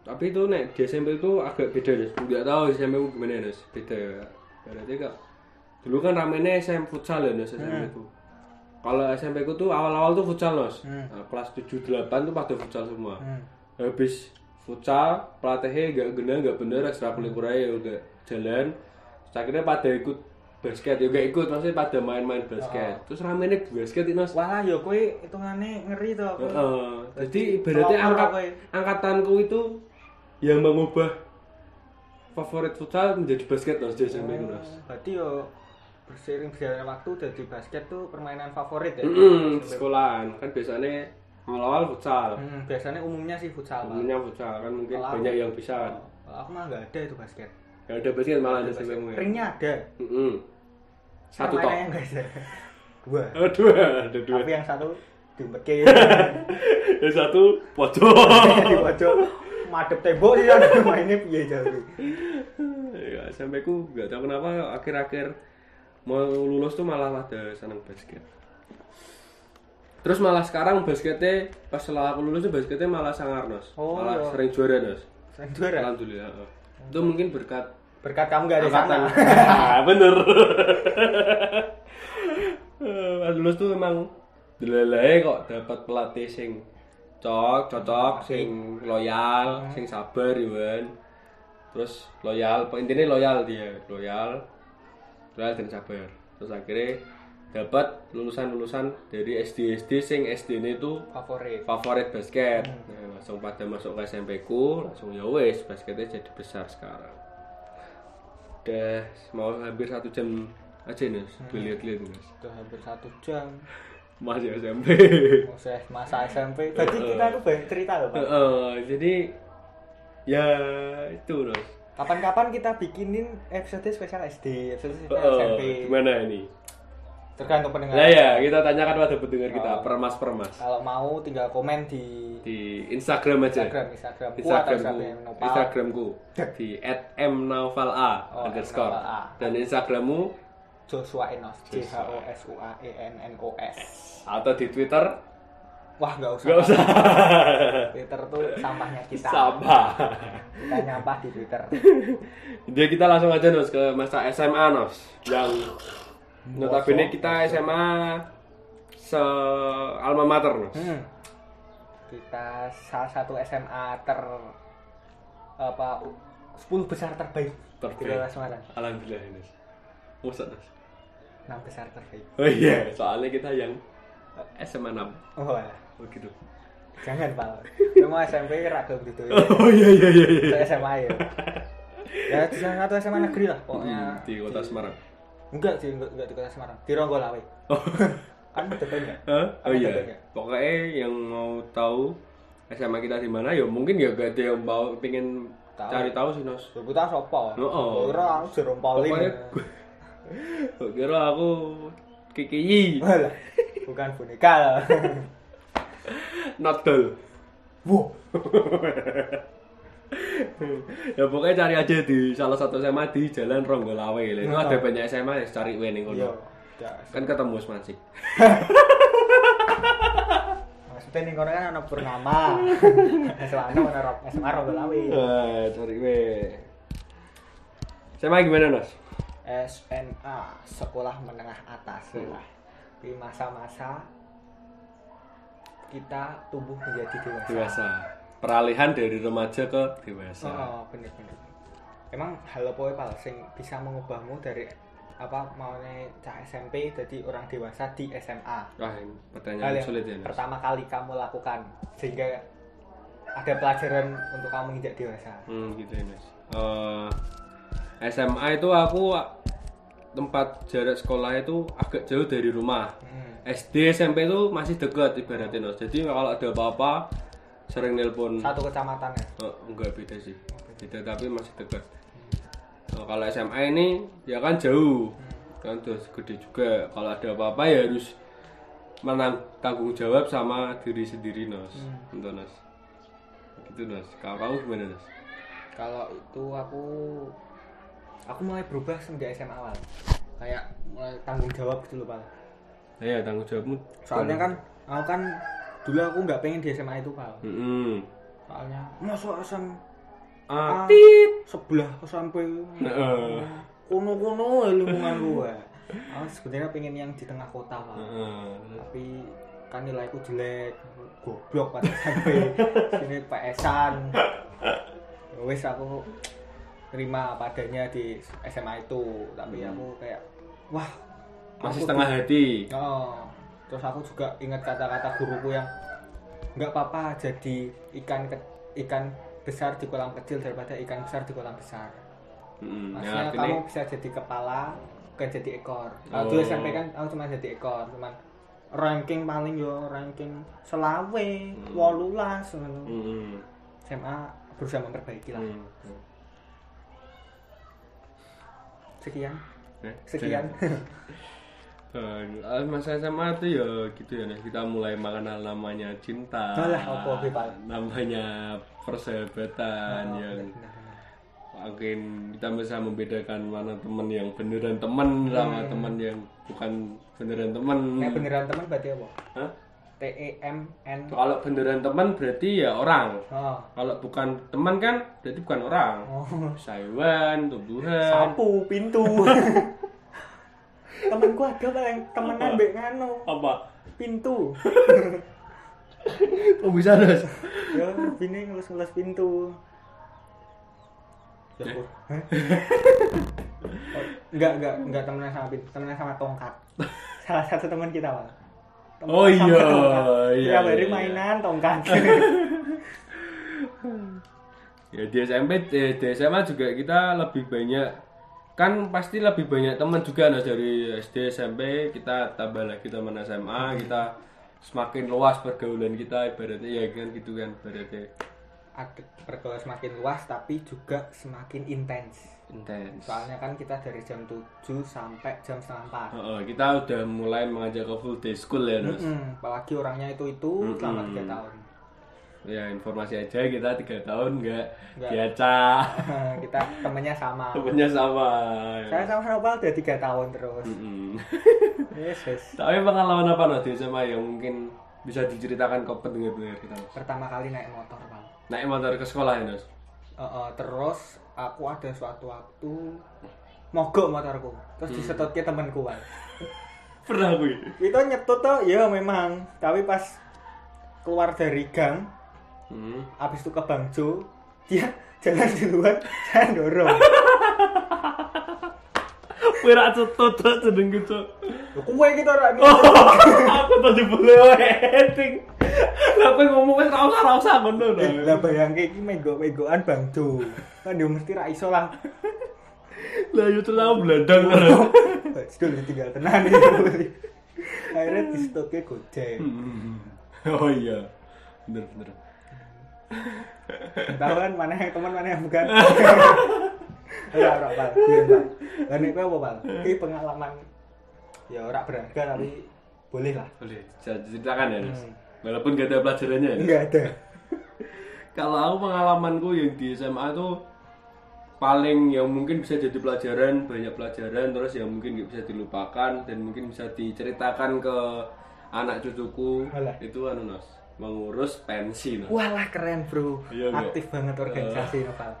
Speaker 1: tapi itu nek di SMP itu agak beda Nes. Enggak tahu di SMP ku gimana Nes. Beda. Berarti kak dulu kan ramenya SMP futsal ya Nes SMP ku. Kalau SMP ku tuh awal-awal tuh futsal Nes.
Speaker 2: Hmm.
Speaker 1: Nah, kelas 7 8 tuh pada futsal semua.
Speaker 2: Hmm.
Speaker 1: Habis futsal pelatihnya gak guna gak bener ekstrakurikulernya ya udah jalan. Terus akhirnya pada ikut basket ya gak ikut maksudnya pada main-main basket.
Speaker 2: Ah.
Speaker 1: Terus ramenya di basket itu Nes.
Speaker 2: Walah, yo kowe hitungane ngeri to aku.
Speaker 1: Heeh. Jadi ibaratnya
Speaker 2: Pelopor
Speaker 1: angkat,
Speaker 2: apa ya?
Speaker 1: angkatanku itu yang mengubah favorit futsal menjadi basket Nos di
Speaker 2: Oh.
Speaker 1: SMP ku, Nos.
Speaker 2: Berarti yo berseiring berjalannya waktu dari basket tuh permainan favorit ya.
Speaker 1: Mm, di sekolahan kan biasanya awal-awal futsal,
Speaker 2: Hmm, Iya. biasanya umumnya sih futsal, Pak.
Speaker 1: umumnya futsal kan mungkin
Speaker 2: Kalau aku-
Speaker 1: banyak yang bisa.
Speaker 2: Kalau aku mah nggak ada itu basket.
Speaker 1: Gak ada basket malah di SMP mu. ya?
Speaker 2: Ringnya ada.
Speaker 1: Mm-mm. Satu tok.
Speaker 2: Permainannya nggak ada. Dua.
Speaker 1: Aduh, ada dua.
Speaker 2: Tapi yang satu (laughs) diumpetin
Speaker 1: Yang satu pojok.
Speaker 2: di pojok madep tembok sih kan mainnya piye jauh.
Speaker 1: ya, SMP ku gak tahu kenapa akhir-akhir mau lulus tuh malah ada seneng basket. Terus malah sekarang basketnya pas setelah aku lulus tuh basketnya malah sangar nos,
Speaker 2: Oh,
Speaker 1: malah
Speaker 2: iya.
Speaker 1: sering juara nos.
Speaker 2: Selain juara.
Speaker 1: Alhamdulillah. heeh. Itu mungkin berkat
Speaker 2: Berkat kamu gak ada di sana.
Speaker 1: angkatan. Ah, (laughs) Bener. Eh, pas lulus tuh emang deleleh kok dapat pelatih sing cocok, cocok, sing loyal, sing sabar Iwan. Terus loyal, pe- intinya loyal dia, loyal. Loyal dan sabar. Terus akhirnya dapat lulusan-lulusan dari SD SD sing SD-ne itu
Speaker 2: Favorit.
Speaker 1: favorit basket nah, langsung pada masuk ke SMP ku langsung ya wes basketnya jadi besar sekarang udah mau hampir satu jam aja nih
Speaker 2: Hmm.
Speaker 1: dilihat-lihat nih
Speaker 2: Udah hampir satu jam.
Speaker 1: masih (laughs) SMP
Speaker 2: Proses masa SMP. Berarti kita tuh banyak cerita loh, Pak.
Speaker 1: Heeh, Eh, jadi ya itu Nos
Speaker 2: Kapan-kapan kita bikinin episode spesial SD, episode spesial
Speaker 1: Heeh,
Speaker 2: SMP.
Speaker 1: gimana Eh, ini
Speaker 2: tergantung
Speaker 1: Nah
Speaker 2: pendengar
Speaker 1: ya, kita tanyakan pada pendengar kita,
Speaker 2: Oh.
Speaker 1: permas-permas.
Speaker 2: kalau mau tinggal komen di
Speaker 1: Di Instagram aja.
Speaker 2: Instagram Instagram ku atau
Speaker 1: Instagramku,
Speaker 2: Instagram Nopal (laughs)
Speaker 1: Instagramku di
Speaker 2: Oh,
Speaker 1: @mnaufala underscore
Speaker 2: mnaufala.
Speaker 1: dan Instagrammu
Speaker 2: Joshua Enos J H O S U A E N N O S
Speaker 1: atau di Twitter
Speaker 2: wah nggak usah
Speaker 1: nggak usah
Speaker 2: (laughs) Twitter tuh sampahnya kita
Speaker 1: sama.
Speaker 2: kita nyampah di Twitter
Speaker 1: Jadi kita langsung aja nos ke masa SMA nos yang notabene kita SMA se alma mater nos.
Speaker 2: Hmm. Kita salah satu SMA ter apa 10 besar terbaik
Speaker 1: Terbaik.
Speaker 2: di Kota Semarang.
Speaker 1: Alhamdulillah nos. Masa nos.
Speaker 2: 6 besar terbaik.
Speaker 1: Oh iya, soalnya kita yang SMA 6.
Speaker 2: Oh, alah.
Speaker 1: Oh gitu.
Speaker 2: jangan Pak.
Speaker 1: (laughs)
Speaker 2: Cuma SMP ra gelem gitu. ya.
Speaker 1: Oh iya iya iya. iya.
Speaker 2: Ke SMA ya. Ya di salah satu SMA negeri lah pokoknya.
Speaker 1: Hmm, Di kota Semarang.
Speaker 2: Enggak sih, enggak, enggak di Kota Semarang. Di Ronggolawe.
Speaker 1: Oh,
Speaker 2: Kan betul ya.
Speaker 1: Hah? oh
Speaker 2: Apa
Speaker 1: iya.
Speaker 2: contohnya?
Speaker 1: Pokoknya yang mau tahu SMA kita di mana ya mungkin ya gak ada yang mau pengen
Speaker 2: Tahu.
Speaker 1: cari tahu sih nos.
Speaker 2: Sebut tahu sapa?
Speaker 1: Heeh.
Speaker 2: Ora jerome Pauline.
Speaker 1: Pokoknya Kok kira aku Kiki
Speaker 2: Walah, Bukan boneka.
Speaker 1: Nodol
Speaker 2: Wah,
Speaker 1: ya pokoknya cari aja di salah satu SMA di Jalan Ronggolawe lah. Itu
Speaker 2: Iya.
Speaker 1: ada banyak SMA ya cari gue ning
Speaker 2: iya.
Speaker 1: kono.
Speaker 2: Ya,
Speaker 1: Kan ketemu Smansi.
Speaker 2: Maksudnya ning kono kan ana Purnama. Selano ana Rob, SMA Rogolawi.
Speaker 1: Eh, cari gue. SMA gimana, Nos?
Speaker 2: SMA Sekolah Menengah Atas lah. Di masa-masa kita tumbuh menjadi dewasa.
Speaker 1: Dewasa. Peralihan dari remaja ke dewasa.
Speaker 2: Oh, bener-bener. Emang hal apa wae, pal sing bisa mengubahmu dari apa maunya cah SMP jadi orang dewasa di SMA?
Speaker 1: Wah, ini
Speaker 2: Hal
Speaker 1: pertanyaan
Speaker 2: yang
Speaker 1: sulit ya, Nos.
Speaker 2: pertama kali kamu lakukan sehingga ada pelajaran untuk kamu menjadi dewasa.
Speaker 1: Hmm, gitu ya, Nes. Eh, SMA itu aku tempat jarak sekolah itu agak jauh dari rumah.
Speaker 2: Hmm.
Speaker 1: SD SMP itu masih dekat ibaratnya Nos. Jadi kalau ada apa-apa sering nelpon
Speaker 2: Satu kecamatan ya.
Speaker 1: Eh, enggak beda sih. Beda tapi masih dekat. Eh, kalau SMA ini ya kan jauh. Kan terus gede juga. Kalau ada apa-apa ya harus menang tanggung jawab sama diri sendiri Nos.
Speaker 2: Hmm.
Speaker 1: Gitu Nos. Gitu Nos. Kalau kamu gimana Nos?
Speaker 2: kalau itu aku aku mulai berubah sejak SMA awal kayak mulai tanggung jawab gitu loh pak
Speaker 1: Nah, ya tanggung jawabmu.
Speaker 2: soalnya kan aku kan dulu aku nggak pengen di SMA itu pak
Speaker 1: Heeh.
Speaker 2: soalnya masuk SMA
Speaker 1: Ah.
Speaker 2: sebelah SMP
Speaker 1: Heeh.
Speaker 2: kuno kuno lingkungan gua aku sebenarnya pengen yang di tengah kota pak
Speaker 1: Heeh.
Speaker 2: tapi kan nilaiku jelek goblok pada SMP sini PS-an Ya wis aku terima padanya di SMA itu tapi aku kayak wah
Speaker 1: Hmm. Masih
Speaker 2: aku
Speaker 1: setengah ya?" hati.
Speaker 2: di- oh. terus aku juga ingat kata-kata guruku yang nggak apa-apa jadi ikan ke- ikan besar di kolam kecil daripada ikan besar di kolam besar
Speaker 1: Heeh. Ya
Speaker 2: maksudnya
Speaker 1: artinya
Speaker 2: kamu bisa jadi kepala bukan jadi ekor
Speaker 1: Oh.
Speaker 2: aku SMP kan aku cuma jadi ekor cuman ranking paling yo ranking selawe
Speaker 1: Hmm.
Speaker 2: wolulas ngono.
Speaker 1: Heeh.
Speaker 2: SMA berusaha memperbaiki lah
Speaker 1: Heeh.
Speaker 2: sekian
Speaker 1: Eh,
Speaker 2: sekian
Speaker 1: Dan eh, masa SMA itu ya gitu ya, Nes. kita mulai mengenal namanya cinta,
Speaker 2: Alah, apa, Bi, Pak? Ah,
Speaker 1: namanya persahabatan yang
Speaker 2: (laughs) Nah,
Speaker 1: makin kita bisa membedakan mana teman yang beneran teman sama
Speaker 2: Hmm.
Speaker 1: teman yang bukan beneran teman.
Speaker 2: kayak beneran teman berarti apa
Speaker 1: Hmm. Hah?
Speaker 2: T E M N
Speaker 1: Kalau beneran teman berarti ya orang.
Speaker 2: oh
Speaker 1: Kalau bukan teman kan berarti bukan orang.
Speaker 2: Oh.
Speaker 1: Sayuan, tumbuhan,
Speaker 2: sapu
Speaker 1: (laughs)
Speaker 2: pintu temanku ada paling temenan mbek nganu
Speaker 1: apa?
Speaker 2: pintu
Speaker 1: Oh bisa Nes?
Speaker 2: ya bini ngelus-ngelus pintu ya
Speaker 1: Eh?
Speaker 2: kok Hah? Oh, enggak enggak enggak temenan sama pintu temenan sama tongkat salah satu teman kita pak Temenan
Speaker 1: Oh
Speaker 2: sama
Speaker 1: iya,
Speaker 2: tongkat.
Speaker 1: iya,
Speaker 2: Tiap hari
Speaker 1: iya,
Speaker 2: mainan
Speaker 1: (laughs)
Speaker 2: tongkat
Speaker 1: Ya di SMP, di, di SMA juga kita lebih banyak kan pasti lebih banyak teman juga nah dari SD SMP kita tambah lagi teman
Speaker 2: Hmm.
Speaker 1: SMA kita semakin luas pergaulan kita ibaratnya ya kan gitu kan ibaratnya
Speaker 2: ag- pergaulan semakin luas tapi juga semakin intens.
Speaker 1: intens
Speaker 2: Soalnya kan kita dari jam 7 sampai jam setengah 4.
Speaker 1: Heeh, kita udah mulai mengajak ke full day school ya Nos
Speaker 2: Mm-mm, apalagi orangnya itu itu selama tiga tahun. (laughs)
Speaker 1: ya informasi aja kita tiga tahun nggak
Speaker 2: Nggak.
Speaker 1: biasa (laughs)
Speaker 2: kita temennya sama.
Speaker 1: temennya sama
Speaker 2: Saya sama Nopal udah tiga tahun terus.
Speaker 1: Mm-mm.
Speaker 2: Yes, yes.
Speaker 1: tapi pengalaman apa Nos di SMA yang mungkin bisa diceritakan ke pendengar-pendengar kita Nos?
Speaker 2: Pertama kali naik motor, Bang.
Speaker 1: naik motor ke sekolah ya Nos
Speaker 2: Eh, eh, terus aku ada suatu waktu mogok motorku. Terus disetut ke temanku, Bang.
Speaker 1: pernah gue
Speaker 2: Itu nyetut tuh, ya memang. Tapi pas keluar dari gang,
Speaker 1: hmm.
Speaker 2: abis itu ke Bangjo, dia (laughs) jalan duluan, saya dorong.
Speaker 1: Wira cetut sedeng gitu.
Speaker 2: Loh, Kue gitu orang
Speaker 1: (laughs) Oh. Aku tadi boleh eting. Lah kowe ngomong wis ra usah ra usah ngono lho.
Speaker 2: Eh, lah bayangke iki mego-megoan Bang Jo. Kan dia mesti ra iso lah.
Speaker 1: Lah yo terus aku (laughs) blandang lho.
Speaker 2: Sudah ditinggal tenan Akhirnya di stoknya Gojek.
Speaker 1: hmm, (laughs) Oh iya. Bener bener.
Speaker 2: Tahu kan mana yang teman mana yang bukan. (laughs) Ora ora Bal. Iya, Bal. Lah nek kowe apa, Bal? Iki pengalaman ya ora berharga tapi boleh lah.
Speaker 1: Boleh ceritakan ya, Mas.
Speaker 2: Hmm.
Speaker 1: Walaupun gak ada pelajarannya. ya.
Speaker 2: Enggak ada.
Speaker 1: Kalau aku pengalamanku yang di SMA itu paling yang mungkin bisa jadi pelajaran banyak pelajaran terus yang mungkin nggak bisa dilupakan dan mungkin bisa diceritakan ke anak cucuku
Speaker 2: Alah.
Speaker 1: itu anu Nos, mengurus pensi Nos.
Speaker 2: Walah keren, Bro.
Speaker 1: Iya, enggak?
Speaker 2: Aktif banget organisasi uh.
Speaker 1: (laughs)
Speaker 2: Bal.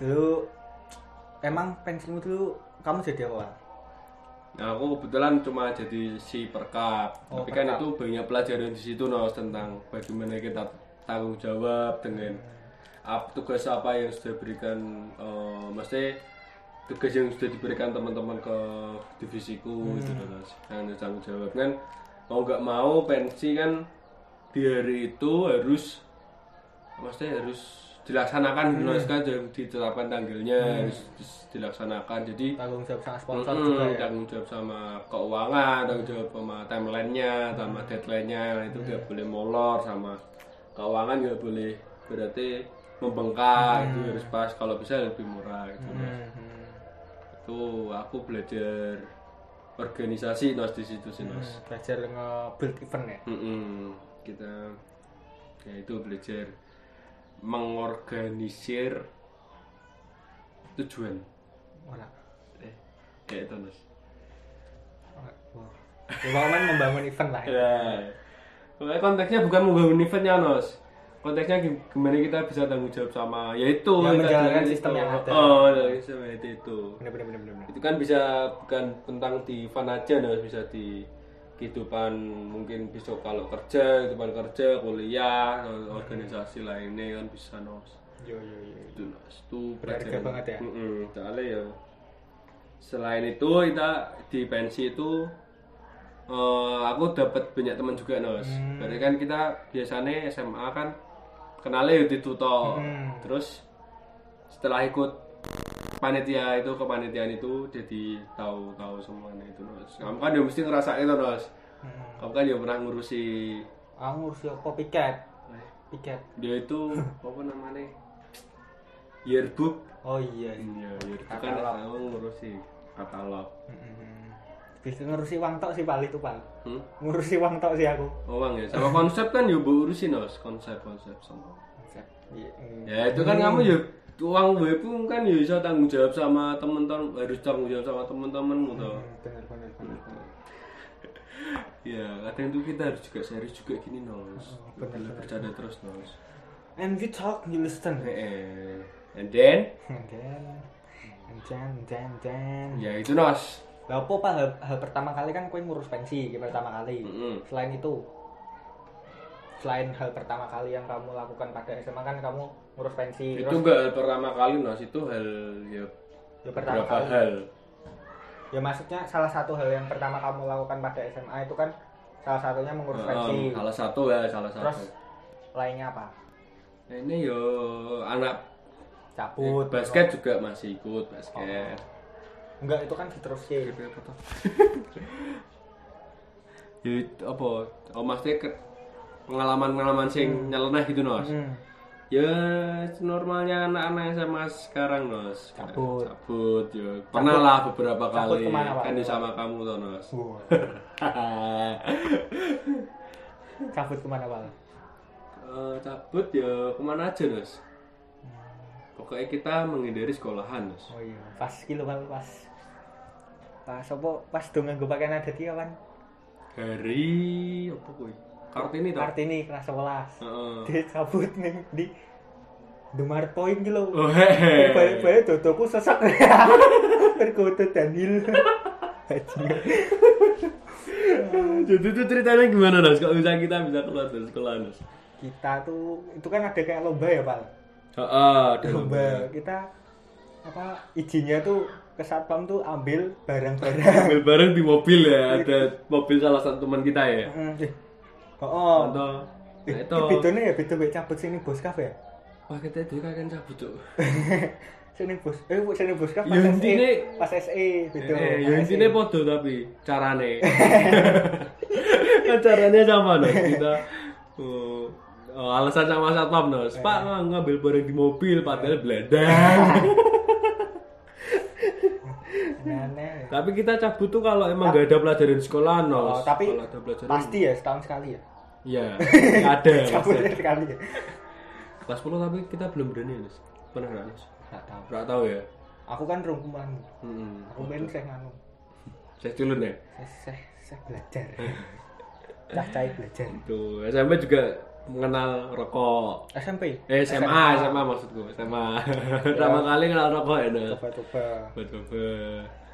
Speaker 2: Dulu emang pensiunmu dulu kamu jadi apa? Bal?
Speaker 1: Nah, aku kebetulan cuma jadi si perkap,
Speaker 2: Oh,
Speaker 1: tapi kan
Speaker 2: perkap.
Speaker 1: itu banyak pelajaran di situ nos tentang bagaimana kita tanggung jawab dengan ap- tugas apa yang sudah diberikan, eh maksudnya tugas yang sudah diberikan teman-teman ke
Speaker 2: Hmm.
Speaker 1: divisiku gitu nos, yang harus tanggung jawab kan mau nggak mau pensi kan di hari itu harus maksudnya harus
Speaker 2: Hmm.
Speaker 1: dilaksanakan gitu, Nos, kan ditetapkan tanggalnya harus dis- dilaksanakan jadi
Speaker 2: Tanggung jawab sama sponsor
Speaker 1: Mm-mm,
Speaker 2: juga ya.
Speaker 1: tanggung jawab sama keuangan, tanggung jawab sama timelinenya, sama deadline-nya Nah, itu
Speaker 2: Iya.
Speaker 1: nggak boleh molor sama keuangan nggak boleh berarti
Speaker 2: Iya.
Speaker 1: membengkak itu harus pas kalau bisa lebih murah gitu.
Speaker 2: Hmm.
Speaker 1: Itu aku belajar organisasi nos di situ sih nos.
Speaker 2: Belajar nge-build event ya.
Speaker 1: Mm-mm, kita ya itu belajar mengorganisir tujuan
Speaker 2: Ora.
Speaker 1: eh kayak itu nos.
Speaker 2: Ora. Wah. Ya pokoknya membangun event lah. ya.
Speaker 1: Ya. Pokoknya konteksnya bukan membangun eventnya Nos. Konteksnya gim- gimana kita bisa tanggung jawab sama yaitu
Speaker 2: Ya, menjalankan
Speaker 1: tadi,
Speaker 2: sistem
Speaker 1: itu.
Speaker 2: yang ada.
Speaker 1: Oh, dari sistem yang itu, itu.
Speaker 2: Bener bener bener bener.
Speaker 1: Itu kan bisa bukan tentang di fan aja Nos, bisa di kehidupan mungkin besok kalau kerja, kehidupan kerja, kuliah, organisasi lainnya kan bisa Nos.
Speaker 2: Yo yo yo. yo.
Speaker 1: Itu Nos. Itu
Speaker 2: Berharga
Speaker 1: pelajaran.
Speaker 2: banget ya?
Speaker 1: Mm-mm, soalnya ya selain itu kita di pensi itu eh, aku dapat banyak teman juga nos
Speaker 2: Hmm.
Speaker 1: berarti kan kita biasanya SMA kan kenalnya di tuto
Speaker 2: Hmm.
Speaker 1: terus setelah ikut panitia itu kepanitiaan itu jadi tahu tahu semuanya itu nos kamu kan udah mesti ngerasain itu nos
Speaker 2: Hmm.
Speaker 1: kamu kan udah pernah ngurusi eh,
Speaker 2: Aku ngurus apa piket? Piket.
Speaker 1: dia itu
Speaker 2: (laughs)
Speaker 1: apa namanya yearbook
Speaker 2: Oh iya.
Speaker 1: iya yearbook kan
Speaker 2: Katalog.
Speaker 1: kamu ngurusi katalog
Speaker 2: Hmm. Bisa ngurusi uang tok sih Bal itu Bal.
Speaker 1: hmm?
Speaker 2: Ngurusi uang tok sih aku.
Speaker 1: Uang ya, sama konsep kan yo mbok urusin nos, konsep konsep sama.
Speaker 2: Iya, hmm.
Speaker 1: Ya itu kan kamu yo uang gue pun kan yo bisa tanggung jawab sama temen-temen harus tanggung jawab sama temen-temenmu toh.
Speaker 2: Hmm, Bener bener bener. bener.
Speaker 1: Ya kadang itu kita harus juga serius juga gini nos.
Speaker 2: Oh,
Speaker 1: Gak
Speaker 2: bener,
Speaker 1: boleh
Speaker 2: bener.
Speaker 1: bercanda terus nos.
Speaker 2: And we talk, you listen.
Speaker 1: Eh, and then
Speaker 2: And then, and then, and then, and then.
Speaker 1: ya itu nos.
Speaker 2: Lah apa Pak hal, hal pertama kali kan kowe ngurus pensi yang pertama kali.
Speaker 1: Mm-mm.
Speaker 2: Selain itu selain hal pertama kali yang kamu lakukan pada SMA kan kamu ngurus pensi.
Speaker 1: Itu enggak hal pertama kali nos, itu hal ya
Speaker 2: ya pertama
Speaker 1: beberapa
Speaker 2: kali.
Speaker 1: hal.
Speaker 2: Ya maksudnya salah satu hal yang pertama kamu lakukan pada SMA itu kan salah satunya mengurus pensi.
Speaker 1: Um, salah satu ya salah
Speaker 2: Terus
Speaker 1: satu.
Speaker 2: lainnya apa?
Speaker 1: Nah, ini yo anak
Speaker 2: Cabut.
Speaker 1: Iya, basket juga masih ikut basket.
Speaker 2: Oh, Enggak, itu kan diterusin.
Speaker 1: Gitu. (laughs) ya itu apa oh maksudnya ke- pengalaman-pengalaman sing nyeleneh gitu nos
Speaker 2: Hmm.
Speaker 1: ya normalnya anak-anak SMA sekarang nos
Speaker 2: Cabut.
Speaker 1: cabut ya pernah lah beberapa
Speaker 2: Cabut
Speaker 1: kali
Speaker 2: kemana, Pak?
Speaker 1: kan di sama kamu toh
Speaker 2: (laughs)
Speaker 1: nos
Speaker 2: Wow. Cabut kemana Hmm. bal?
Speaker 1: Eh, cabut ya kemana aja nos pokoknya kita menghindari sekolahan nos
Speaker 2: Oh iya, pas kilo bal pas. Pas apa? Pas dong nganggo pakaian adat iki kapan?
Speaker 1: hari apa kuwi kartini toh
Speaker 2: Kartini kelas 11.
Speaker 1: Iya. Heeh.
Speaker 2: Dia cabut ning di Dumar Point ki lho.
Speaker 1: Oh, iya. hehe.
Speaker 2: Balik-balik dodoku sesek. (laughs) Perkutut
Speaker 1: (laughs)
Speaker 2: Daniel. Bajingan.
Speaker 1: Jadi itu ceritanya gimana Nas? Kalau misalnya kita bisa keluar dari sekolah Nas?
Speaker 2: kita tuh itu kan ada kayak lomba ya pak
Speaker 1: Heeh,
Speaker 2: lomba kita apa izinnya tuh ke satpam tuh ambil
Speaker 1: (laughs)
Speaker 2: barang-barang
Speaker 1: Ambil bareng di mobil ya, ada mobil salah satu teman kita ya.
Speaker 2: Mm, eh, oh, oh.
Speaker 1: Atau nah,
Speaker 2: Eh,
Speaker 1: itu
Speaker 2: bedanya ya beda beda cabut sini bos kafe ya (laughs)
Speaker 1: Wah kita itu kan cabut tuh.
Speaker 2: sini bos eh bu sini bos kafe
Speaker 1: Ya, intinya-
Speaker 2: pas SE beda Nah,
Speaker 1: Eh,
Speaker 2: pas
Speaker 1: ya intinya podo tapi carane. kan caranya sama Nas. Kita oh, oh, alasan sama satpam Nas. Pak
Speaker 2: Eh.
Speaker 1: ngambil barang di mobil, padahal beladang.
Speaker 2: SE. Aneh-aneh.
Speaker 1: tapi kita cabut tuh kalau emang gak ada pelajaran sekolah Nas.
Speaker 2: Oh, tapi
Speaker 1: kalau ada pelajaran
Speaker 2: pasti ya setahun sekali ya
Speaker 1: Iya,
Speaker 2: (laughs)
Speaker 1: ada pasti.
Speaker 2: cabutnya sekali
Speaker 1: (laughs)
Speaker 2: ya
Speaker 1: Kelas 10 tapi kita belum berani, Mas. Pernah nggak, Mas?
Speaker 2: nggak tahu
Speaker 1: Nggak tahu ya.
Speaker 2: aku kan rungkuman
Speaker 1: Hmm.
Speaker 2: aku main anu. saya nganu
Speaker 1: Saya culun ya.
Speaker 2: saya saya, saya
Speaker 1: (laughs)
Speaker 2: belajar cah cah belajar
Speaker 1: Tuh, SMP juga mengenal rokok.
Speaker 2: SMP
Speaker 1: Eh, SMA, SMA, maksudku, SMA. Pertama kali kenal rokok ya, Nas.
Speaker 2: coba-coba
Speaker 1: Coba-coba.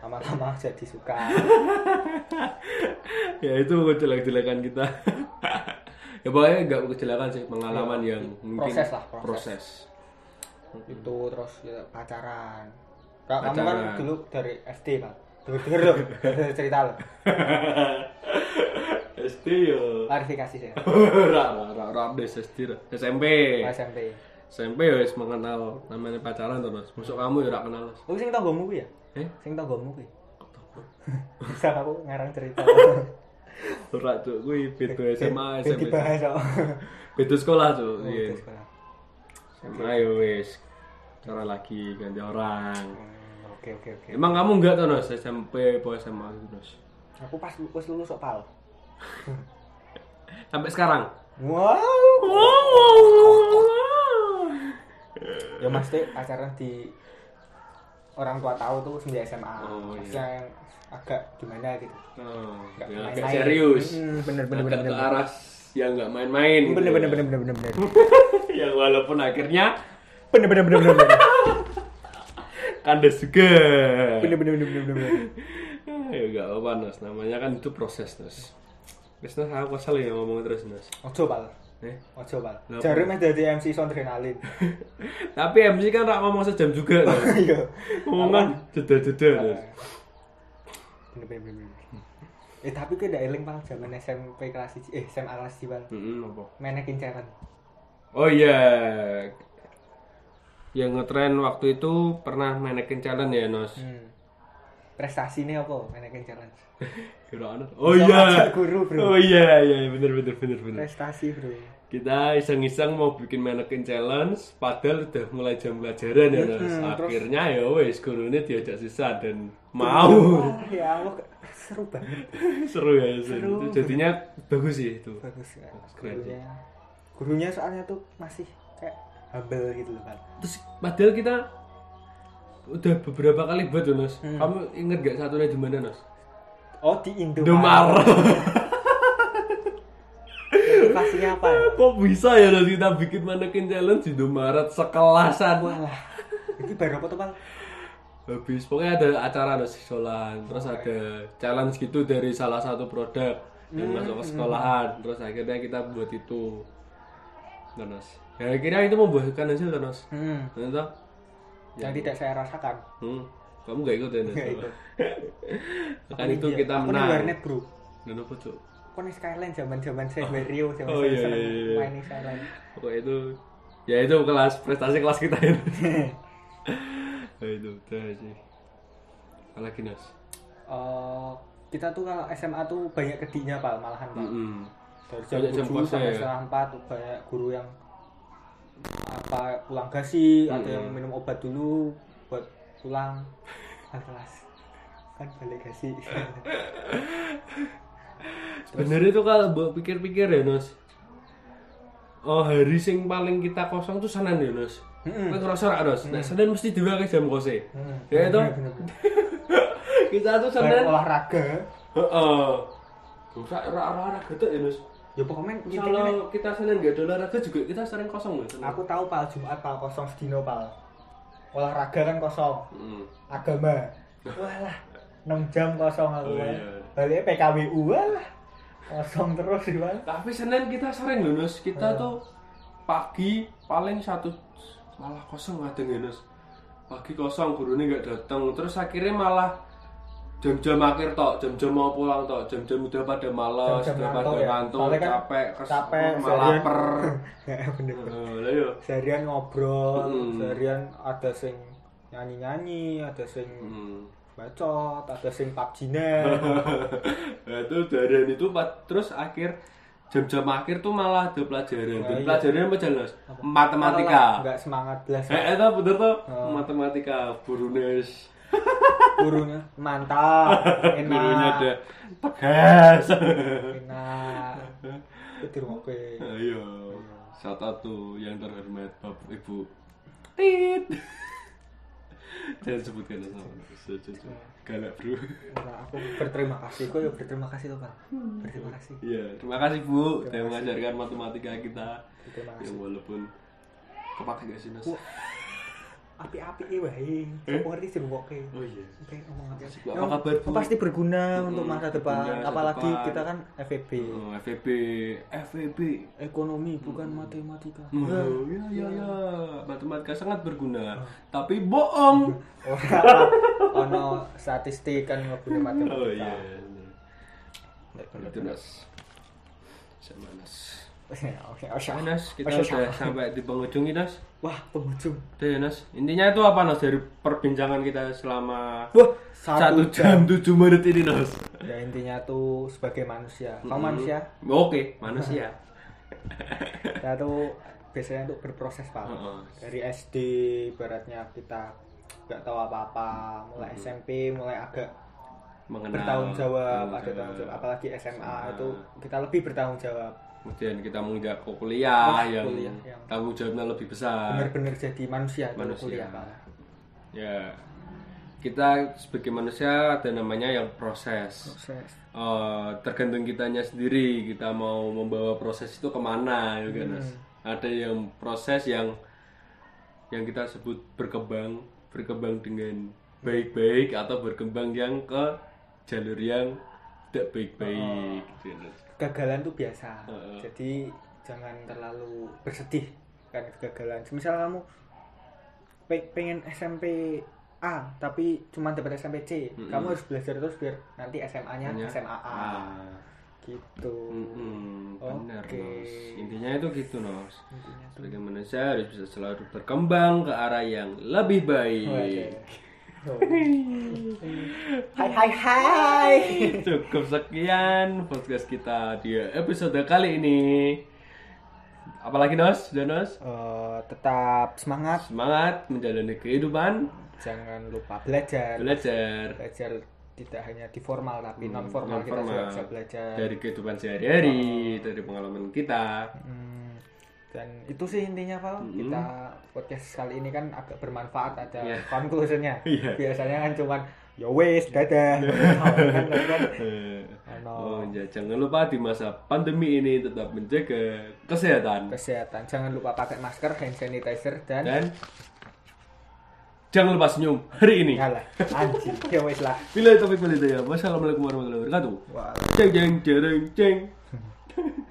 Speaker 2: lama-lama (laughs) jadi suka
Speaker 1: ya itu jelek-jelekan kita. ya pokoknya nggak kejelekan sih pengalaman yang mungkin
Speaker 2: proses lah, proses.
Speaker 1: Ya. proses.
Speaker 2: itu terus ya, pacaran Kak, kamu kan
Speaker 1: Pacaran.
Speaker 2: dulu dari SD kan denger lo denger (laughs) cerita lo
Speaker 1: (laughs) SD yo.
Speaker 2: klarifikasi sih
Speaker 1: Ora ora ora ora des SD ra. SMP.
Speaker 2: SMP
Speaker 1: SMP ya wis mengenal namanya pacaran tuh mas masuk kamu ya ora kenal mas
Speaker 2: aku sing tau gomu ya
Speaker 1: eh
Speaker 2: sing tau gomu kuwi bisa aku ngarang
Speaker 1: (laughs)
Speaker 2: cerita
Speaker 1: ora cuk
Speaker 2: Eh,
Speaker 1: kuwi beda SMA
Speaker 2: SMP
Speaker 1: SMP
Speaker 2: dibahas kok
Speaker 1: beda sekolah cuk Oh, iya
Speaker 2: Itu eh. Oh, sekolah.
Speaker 1: SMA ya wis cara lagi ganti orang
Speaker 2: Hmm, oke oke oke
Speaker 1: emang kamu enggak tuh mas SMP apa SMA gitu mas
Speaker 2: aku pas pas lulus kok pal
Speaker 1: sampai sekarang
Speaker 2: Oh, wow ya mas teh pacaran di orang tua tahu tuh semenjak SMA
Speaker 1: Oh,
Speaker 2: Maksudnya
Speaker 1: iya.
Speaker 2: yang agak gimana gitu
Speaker 1: Oh,
Speaker 2: Nggak
Speaker 1: ya,
Speaker 2: main-main.
Speaker 1: agak serius
Speaker 2: Mm, bener bener bener
Speaker 1: agak ke
Speaker 2: bener
Speaker 1: arah yang nggak main-main gitu
Speaker 2: bener
Speaker 1: ya.
Speaker 2: bener bener bener bener bener
Speaker 1: (laughs) yang walaupun akhirnya
Speaker 2: bener bener bener bener bener
Speaker 1: kandas juga
Speaker 2: bener bener bener bener bener
Speaker 1: ya gak apa Nas namanya kan itu proses Nas Wis Nas aku kesel ya ngomong terus Nas
Speaker 2: ojo pal
Speaker 1: eh.
Speaker 2: ojo pal
Speaker 1: Kenapa?
Speaker 2: jari mas jadi MC
Speaker 1: (laughs)
Speaker 2: Sondrenalin
Speaker 1: tapi MC kan rak ngomong sejam juga
Speaker 2: (laughs)
Speaker 1: Nas
Speaker 2: iya
Speaker 1: ngomongan jeda-jeda Nas
Speaker 2: bener bener bener bener eh tapi kayak udah eling pal zaman SMP kelas 1 eh SMA kelas 1 pal
Speaker 1: Mm-mm, apa?
Speaker 2: menekin cewek
Speaker 1: oh iya yang ngetren waktu itu pernah manekin challenge ya Nas
Speaker 2: hmm. prestasinya apa menekin challenge
Speaker 1: Kira ana. oh
Speaker 2: Bisa ngajak
Speaker 1: iya
Speaker 2: guru, bro.
Speaker 1: oh iya iya bener bener bener bener
Speaker 2: prestasi bro
Speaker 1: kita iseng-iseng mau bikin manekin challenge padahal udah mulai jam pelajaran ya Nas
Speaker 2: Mm-mm, terus-
Speaker 1: akhirnya ya wes gurunya diajak sisa dan mau
Speaker 2: Wah, ya Allah seru banget
Speaker 1: seru ya Sen.
Speaker 2: Seru.
Speaker 1: Itu jadinya bagus sih itu
Speaker 2: bagus ya
Speaker 1: Keren.
Speaker 2: gurunya gurunya soalnya tuh masih kayak humble gitu loh kan
Speaker 1: terus padahal kita udah beberapa kali buat loh Nos
Speaker 2: Hmm.
Speaker 1: kamu inget gak satunya di mana Nos
Speaker 2: oh di Indo (laughs)
Speaker 1: Demar
Speaker 2: motivasinya apa ya
Speaker 1: kok bisa ya Nos kita bikin manekin challenge di Domaret sekelasan
Speaker 2: walah ini baru apa tuh bang
Speaker 1: habis pokoknya ada acara Nos di sekolahan terus ada challenge gitu dari salah satu produk
Speaker 2: Hmm,
Speaker 1: yang masuk ke sekolahan terus akhirnya kita buat itu Tuh, Nos ya akhirnya itu membuahkan hasil tuh, Nos
Speaker 2: hmm.
Speaker 1: ternyata
Speaker 2: yang tidak saya rasakan
Speaker 1: Hmm, kamu gak ikut ya? Nes?
Speaker 2: Nggak ikut.
Speaker 1: kan itu kita
Speaker 2: aku di
Speaker 1: menang.
Speaker 2: warnet bro
Speaker 1: Dan apa tuh?
Speaker 2: aku nih Skyline zaman zaman saya Mario zaman
Speaker 1: Oh,
Speaker 2: saya
Speaker 1: iya,
Speaker 2: seneng
Speaker 1: iya, iya.
Speaker 2: mainin Skyline (laughs)
Speaker 1: Pokoknya itu ya itu kelas prestasi kelas kita itu. (laughs) ya itu udah sih. Apa lagi Nas?
Speaker 2: Eh, kita tuh kalau SMA tuh banyak kediknya pal malahan pal
Speaker 1: Mm-mm.
Speaker 2: dari jam
Speaker 1: Banyak jam
Speaker 2: 7
Speaker 1: puasa
Speaker 2: sampai
Speaker 1: ya?
Speaker 2: setengah 4 tuh banyak guru yang apa pulang gasi ada
Speaker 1: Hmm.
Speaker 2: yang minum obat dulu buat pulang ke kelas kan balik gasi
Speaker 1: Bener itu kalau mbok pikir-pikir ya Nos. Oh hari sing paling kita kosong tuh Senin ya Nos.
Speaker 2: Mm-mm.
Speaker 1: Kita ngerasa rak Nos. Nah Senin mesti diwakil jam kose.
Speaker 2: Hmm,
Speaker 1: Ya itu
Speaker 2: bener-bener.
Speaker 1: (laughs) kita tuh
Speaker 2: Banyak
Speaker 1: Senin.
Speaker 2: olahraga
Speaker 1: Heeh. Rusak rak olahraga gitu ya Nos.
Speaker 2: ya pokoknya intinya nih,
Speaker 1: Kalau kita Senin gak ada olahraga juga kita sering kosong loh. Senin.
Speaker 2: aku tahu pal Jumat pal kosong sedino pal olahraga kan kosong
Speaker 1: Mm.
Speaker 2: agama walah 6 jam kosong aku
Speaker 1: Oh,
Speaker 2: kan.
Speaker 1: iya.
Speaker 2: baliknya PKWU walah kosong terus sih Pal.
Speaker 1: Tapi Senin kita sering loh Nos.
Speaker 2: Iya.
Speaker 1: Kita tuh pagi paling satu malah kosong kadang ya Nos. Pagi kosong gurunya nggak datang. Terus akhirnya malah jam-jam akhir tok, jam-jam mau pulang tok, jam-jam udah pada malas,
Speaker 2: Jam-jam
Speaker 1: udah
Speaker 2: ngantuk
Speaker 1: pada
Speaker 2: ya.
Speaker 1: ngantuk,
Speaker 2: Soalnya kan
Speaker 1: capek, kes,
Speaker 2: capek,
Speaker 1: malah
Speaker 2: seharian. (laughs)
Speaker 1: per.
Speaker 2: Ya, bener
Speaker 1: Eh, lah yo.
Speaker 2: seharian ngobrol
Speaker 1: Mm.
Speaker 2: seharian ada sing nyanyi nyanyi ada sing
Speaker 1: Hmm. (laughs)
Speaker 2: bacot ada sing pubg
Speaker 1: Nah, itu dari itu Pak. terus akhir jam-jam akhir tuh malah ada pelajaran.
Speaker 2: Nah,
Speaker 1: Dan
Speaker 2: iya.
Speaker 1: pelajarannya apa jelas? Matematika.
Speaker 2: nggak semangat belas
Speaker 1: Eh, itu bener tuh matematika burunes
Speaker 2: gurunya mantap
Speaker 1: (laughs)
Speaker 2: enak
Speaker 1: gurunya ada (laughs) tegas
Speaker 2: enak itu oke
Speaker 1: ayo shout out to yang terhormat bapak ibu tit jangan sebutkan nama Jujur. galak bro
Speaker 2: Nah, aku berterima kasih kok ya berterima kasih loh pak berterima kasih
Speaker 1: ya terima kasih bu sudah mengajarkan matematika kita
Speaker 2: berterima kasih
Speaker 1: yang walaupun kepake gak sih Nas?
Speaker 2: api-api ini wae
Speaker 1: Eh?
Speaker 2: aku ngerti sih oke
Speaker 1: oh iya
Speaker 2: oke omong aja
Speaker 1: Bu, apa kabar bu
Speaker 2: pasti berguna untuk masa
Speaker 1: berguna
Speaker 2: depan
Speaker 1: masa
Speaker 2: apalagi
Speaker 1: depan.
Speaker 2: kita kan FEB
Speaker 1: Oh, FVB FVB
Speaker 2: ekonomi bukan matematika
Speaker 1: Oh, ya, ya, ya. Matematika sangat berguna, tapi (laughs) bohong.
Speaker 2: Ora ono statistik kan ngebune
Speaker 1: Oh
Speaker 2: matematika. (laughs)
Speaker 1: iya. Itu nas. Sama nas.
Speaker 2: Oke, oke.
Speaker 1: Ayo, nas, kita
Speaker 2: Masya
Speaker 1: udah sampai di penghujung ini nas.
Speaker 2: Wah, penghujung.
Speaker 1: Udah ya nas. Intinya itu apa nas dari perbincangan kita selama
Speaker 2: Wah,
Speaker 1: satu jam tujuh menit ini nas. Hmm.
Speaker 2: Ya intinya tuh sebagai manusia. Kamu manusia,
Speaker 1: Oke, ya. manusia.
Speaker 2: kita tuh biasanya untuk berproses pak.
Speaker 1: Heeh.
Speaker 2: Dari SD, ibaratnya kita nggak tahu apa-apa. Mulai SMP, mulai agak
Speaker 1: Mengenal.
Speaker 2: bertanggung jawab,
Speaker 1: bertanggung
Speaker 2: ada tanggung jawab. Apalagi SMA itu kita lebih bertanggung jawab.
Speaker 1: Kemudian kita menginjak ke kuliah yang
Speaker 2: kuliah yang-
Speaker 1: tanggung jawabnya lebih besar.
Speaker 2: Bener-bener jadi manusia, itu
Speaker 1: Ah, Manusia.
Speaker 2: kuliah pak.
Speaker 1: Ya. Kita sebagai manusia ada namanya yang proses.
Speaker 2: Proses.
Speaker 1: Eh, tergantung kitanya sendiri kita mau membawa proses itu kemana ya kan
Speaker 2: Hmm.
Speaker 1: Nas? ada yang proses yang yang kita sebut berkembang berkembang dengan baik-baik atau berkembang yang ke jalur yang tidak baik-baik
Speaker 2: Oh.
Speaker 1: gitu ya, Nas.
Speaker 2: kegagalan tuh biasa
Speaker 1: Heeh.
Speaker 2: jadi jangan terlalu bersedih kan kegagalan misal kamu pe- pengen SMP A tapi cuma dapat SMP C kamu harus belajar terus biar nanti SMA nya
Speaker 1: Hanya-
Speaker 2: SMA Ya, A
Speaker 1: Ah.
Speaker 2: gitu
Speaker 1: Mm-mm, benar
Speaker 2: Oke.
Speaker 1: Nos. intinya itu gitu nos
Speaker 2: Intinya tuh-
Speaker 1: sebagai manusia harus bisa selalu berkembang ke arah yang lebih
Speaker 2: Oke.
Speaker 1: baik
Speaker 2: Oh. hai hai hai
Speaker 1: Cukup sekian podcast kita di episode kali ini. Apalagi Nos, Danos.
Speaker 2: Eh, tetap semangat
Speaker 1: Semangat menjalani kehidupan,
Speaker 2: jangan lupa belajar
Speaker 1: belajar
Speaker 2: belajar tidak hanya di formal tapi non formal kita juga
Speaker 1: Hmm, non-formal.
Speaker 2: bisa belajar
Speaker 1: dari kehidupan sehari-hari, dari pengalaman kita.
Speaker 2: Hmm, dan itu sih intinya Val
Speaker 1: Hmm.
Speaker 2: kita podcast kali ini kan agak bermanfaat ada
Speaker 1: Iya.
Speaker 2: conclusion-nya
Speaker 1: (laughs) Iya.
Speaker 2: biasanya kan cuman ya wes dadah (laughs) Kan, kan,
Speaker 1: (laughs)
Speaker 2: kan.
Speaker 1: Eh,
Speaker 2: Ano,
Speaker 1: Oh, ya, jangan lupa di masa pandemi ini tetap menjaga kesehatan
Speaker 2: kesehatan jangan lupa pakai masker hand sanitizer dan
Speaker 1: dan jangan lupa senyum hari ini. (laughs)
Speaker 2: Alah, anjing ya wes lah
Speaker 1: Bila topik ya. Wassalamualaikum warahmatullahi wabarakatuh.
Speaker 2: Wah.
Speaker 1: Ceng ceng ceng ceng.